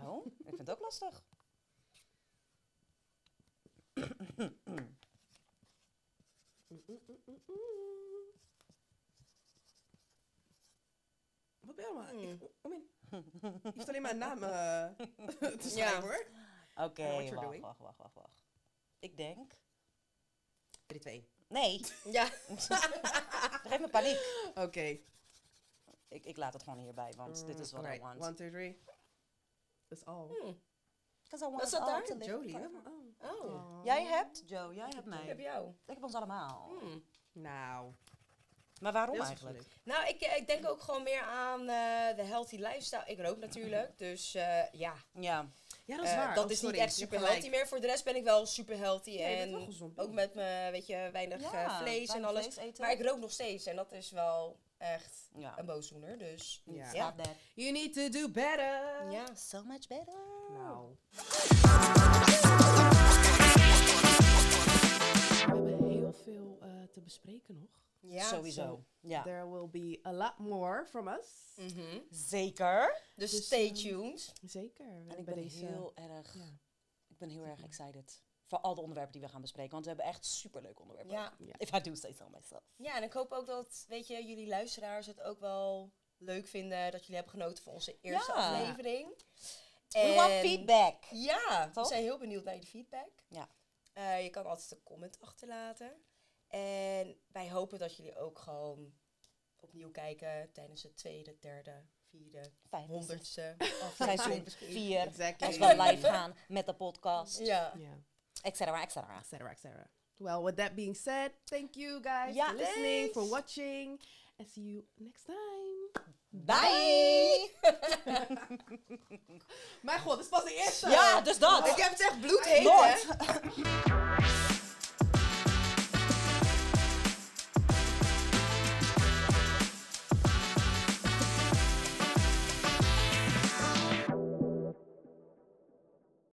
Speaker 2: Oh, ik vind het ook lastig.
Speaker 3: Wat ben je allemaal?
Speaker 1: Hmm.
Speaker 3: Ik, kom in. Je hoeft alleen maar een naam eh, te schrijven hoor.
Speaker 2: Oké,
Speaker 3: know what you're
Speaker 2: wacht,
Speaker 3: doing.
Speaker 2: wacht, wacht, wacht, wacht. Ik denk...
Speaker 3: 3-2.
Speaker 2: Nee,
Speaker 1: Ja.
Speaker 2: geef me paniek.
Speaker 3: Oké.
Speaker 2: Ik, ik laat het gewoon hierbij, want dit is wat I want.
Speaker 3: 1, 2, 3. That's all.
Speaker 1: Hmm.
Speaker 2: 'Cause I want
Speaker 1: Wat staat
Speaker 2: all
Speaker 1: daar?
Speaker 2: to live
Speaker 3: Jolie. hè?
Speaker 2: forever.
Speaker 3: Oh.
Speaker 1: Oh,
Speaker 2: Jij hebt, Joe, jij hebt
Speaker 1: ik
Speaker 2: mij.
Speaker 1: heb jou.
Speaker 2: Ik heb ons allemaal.
Speaker 1: Hmm.
Speaker 3: Nou.
Speaker 2: Maar waarom
Speaker 3: heel
Speaker 2: eigenlijk?
Speaker 3: vergeluk.
Speaker 1: Nou, ik, eh, ik denk ook gewoon meer aan eh, de healthy lifestyle. Ik rook natuurlijk, dus eh, ja.
Speaker 2: Ja,
Speaker 3: Ja, dat is
Speaker 1: eh,
Speaker 3: waar.
Speaker 1: dat
Speaker 3: Oh,
Speaker 1: is
Speaker 3: sorry,
Speaker 1: niet echt
Speaker 3: je hebt
Speaker 1: super
Speaker 3: gelijk.
Speaker 1: healthy meer. Voor de rest ben ik wel super healthy.
Speaker 3: Ja, je bent
Speaker 1: en
Speaker 3: wel gezond.
Speaker 1: ook met mijn, weet je, weinig
Speaker 2: ja.
Speaker 1: eh, vlees en
Speaker 2: weinig
Speaker 1: alles.
Speaker 2: vlees eten.
Speaker 1: Maar ik Ehm, rook nog steeds en dat is wel echt
Speaker 2: Ja.
Speaker 1: een boosdoener. Dus
Speaker 3: Ja.
Speaker 2: Stop that.
Speaker 3: You need to do better.
Speaker 1: ja.
Speaker 2: So much better.
Speaker 3: Nou. We hebben heel veel eh, te bespreken nog.
Speaker 1: ja.
Speaker 2: Sowieso. Ja.
Speaker 3: There will be a lot more from us.
Speaker 2: Mm.
Speaker 1: Mhm.
Speaker 2: Zeker.
Speaker 1: Dus,
Speaker 3: Dus,
Speaker 1: stay
Speaker 3: ehm,
Speaker 1: tuned.
Speaker 3: Zeker. we
Speaker 2: En ik
Speaker 3: hebben
Speaker 2: ben
Speaker 3: deze-
Speaker 2: heel erg,
Speaker 3: ja.
Speaker 2: ik ben heel erg excited voor al de onderwerpen die we gaan bespreken. Want we hebben echt superleuke onderwerpen.
Speaker 1: Ja.
Speaker 2: If I do say so myself.
Speaker 1: ja, en ik hoop ook dat, weet je, jullie luisteraars het ook wel leuk vinden. Dat jullie hebben genoten van onze eerste
Speaker 2: Ja.
Speaker 1: aflevering.
Speaker 2: We want
Speaker 1: En-
Speaker 2: feedback.
Speaker 1: Ja,
Speaker 2: Toch?
Speaker 1: we zijn heel benieuwd naar je feedback.
Speaker 2: Ja.
Speaker 1: Eh, je kan altijd een comment achterlaten. En wij hopen dat jullie ook gewoon opnieuw kijken tijdens de tweede, derde, vierde,
Speaker 2: Vijf,
Speaker 1: honderdste
Speaker 2: Seizoen
Speaker 1: aflevering.
Speaker 2: 4.
Speaker 3: Exactly.
Speaker 2: Als we live gaan met de podcast.
Speaker 1: Ja.
Speaker 3: Ja.
Speaker 2: Et cetera, et cetera.
Speaker 3: et cetera, et cetera. Well, with that being said, thank you guys
Speaker 2: Ja,
Speaker 3: for listening, for
Speaker 2: thanks.
Speaker 3: watching, and see you next time.
Speaker 2: Bye!
Speaker 3: Mijn god, dit is pas de eerste.
Speaker 2: Ja, dus dat.
Speaker 3: Ik heb het echt bloedheet,
Speaker 2: Lord.
Speaker 3: hè?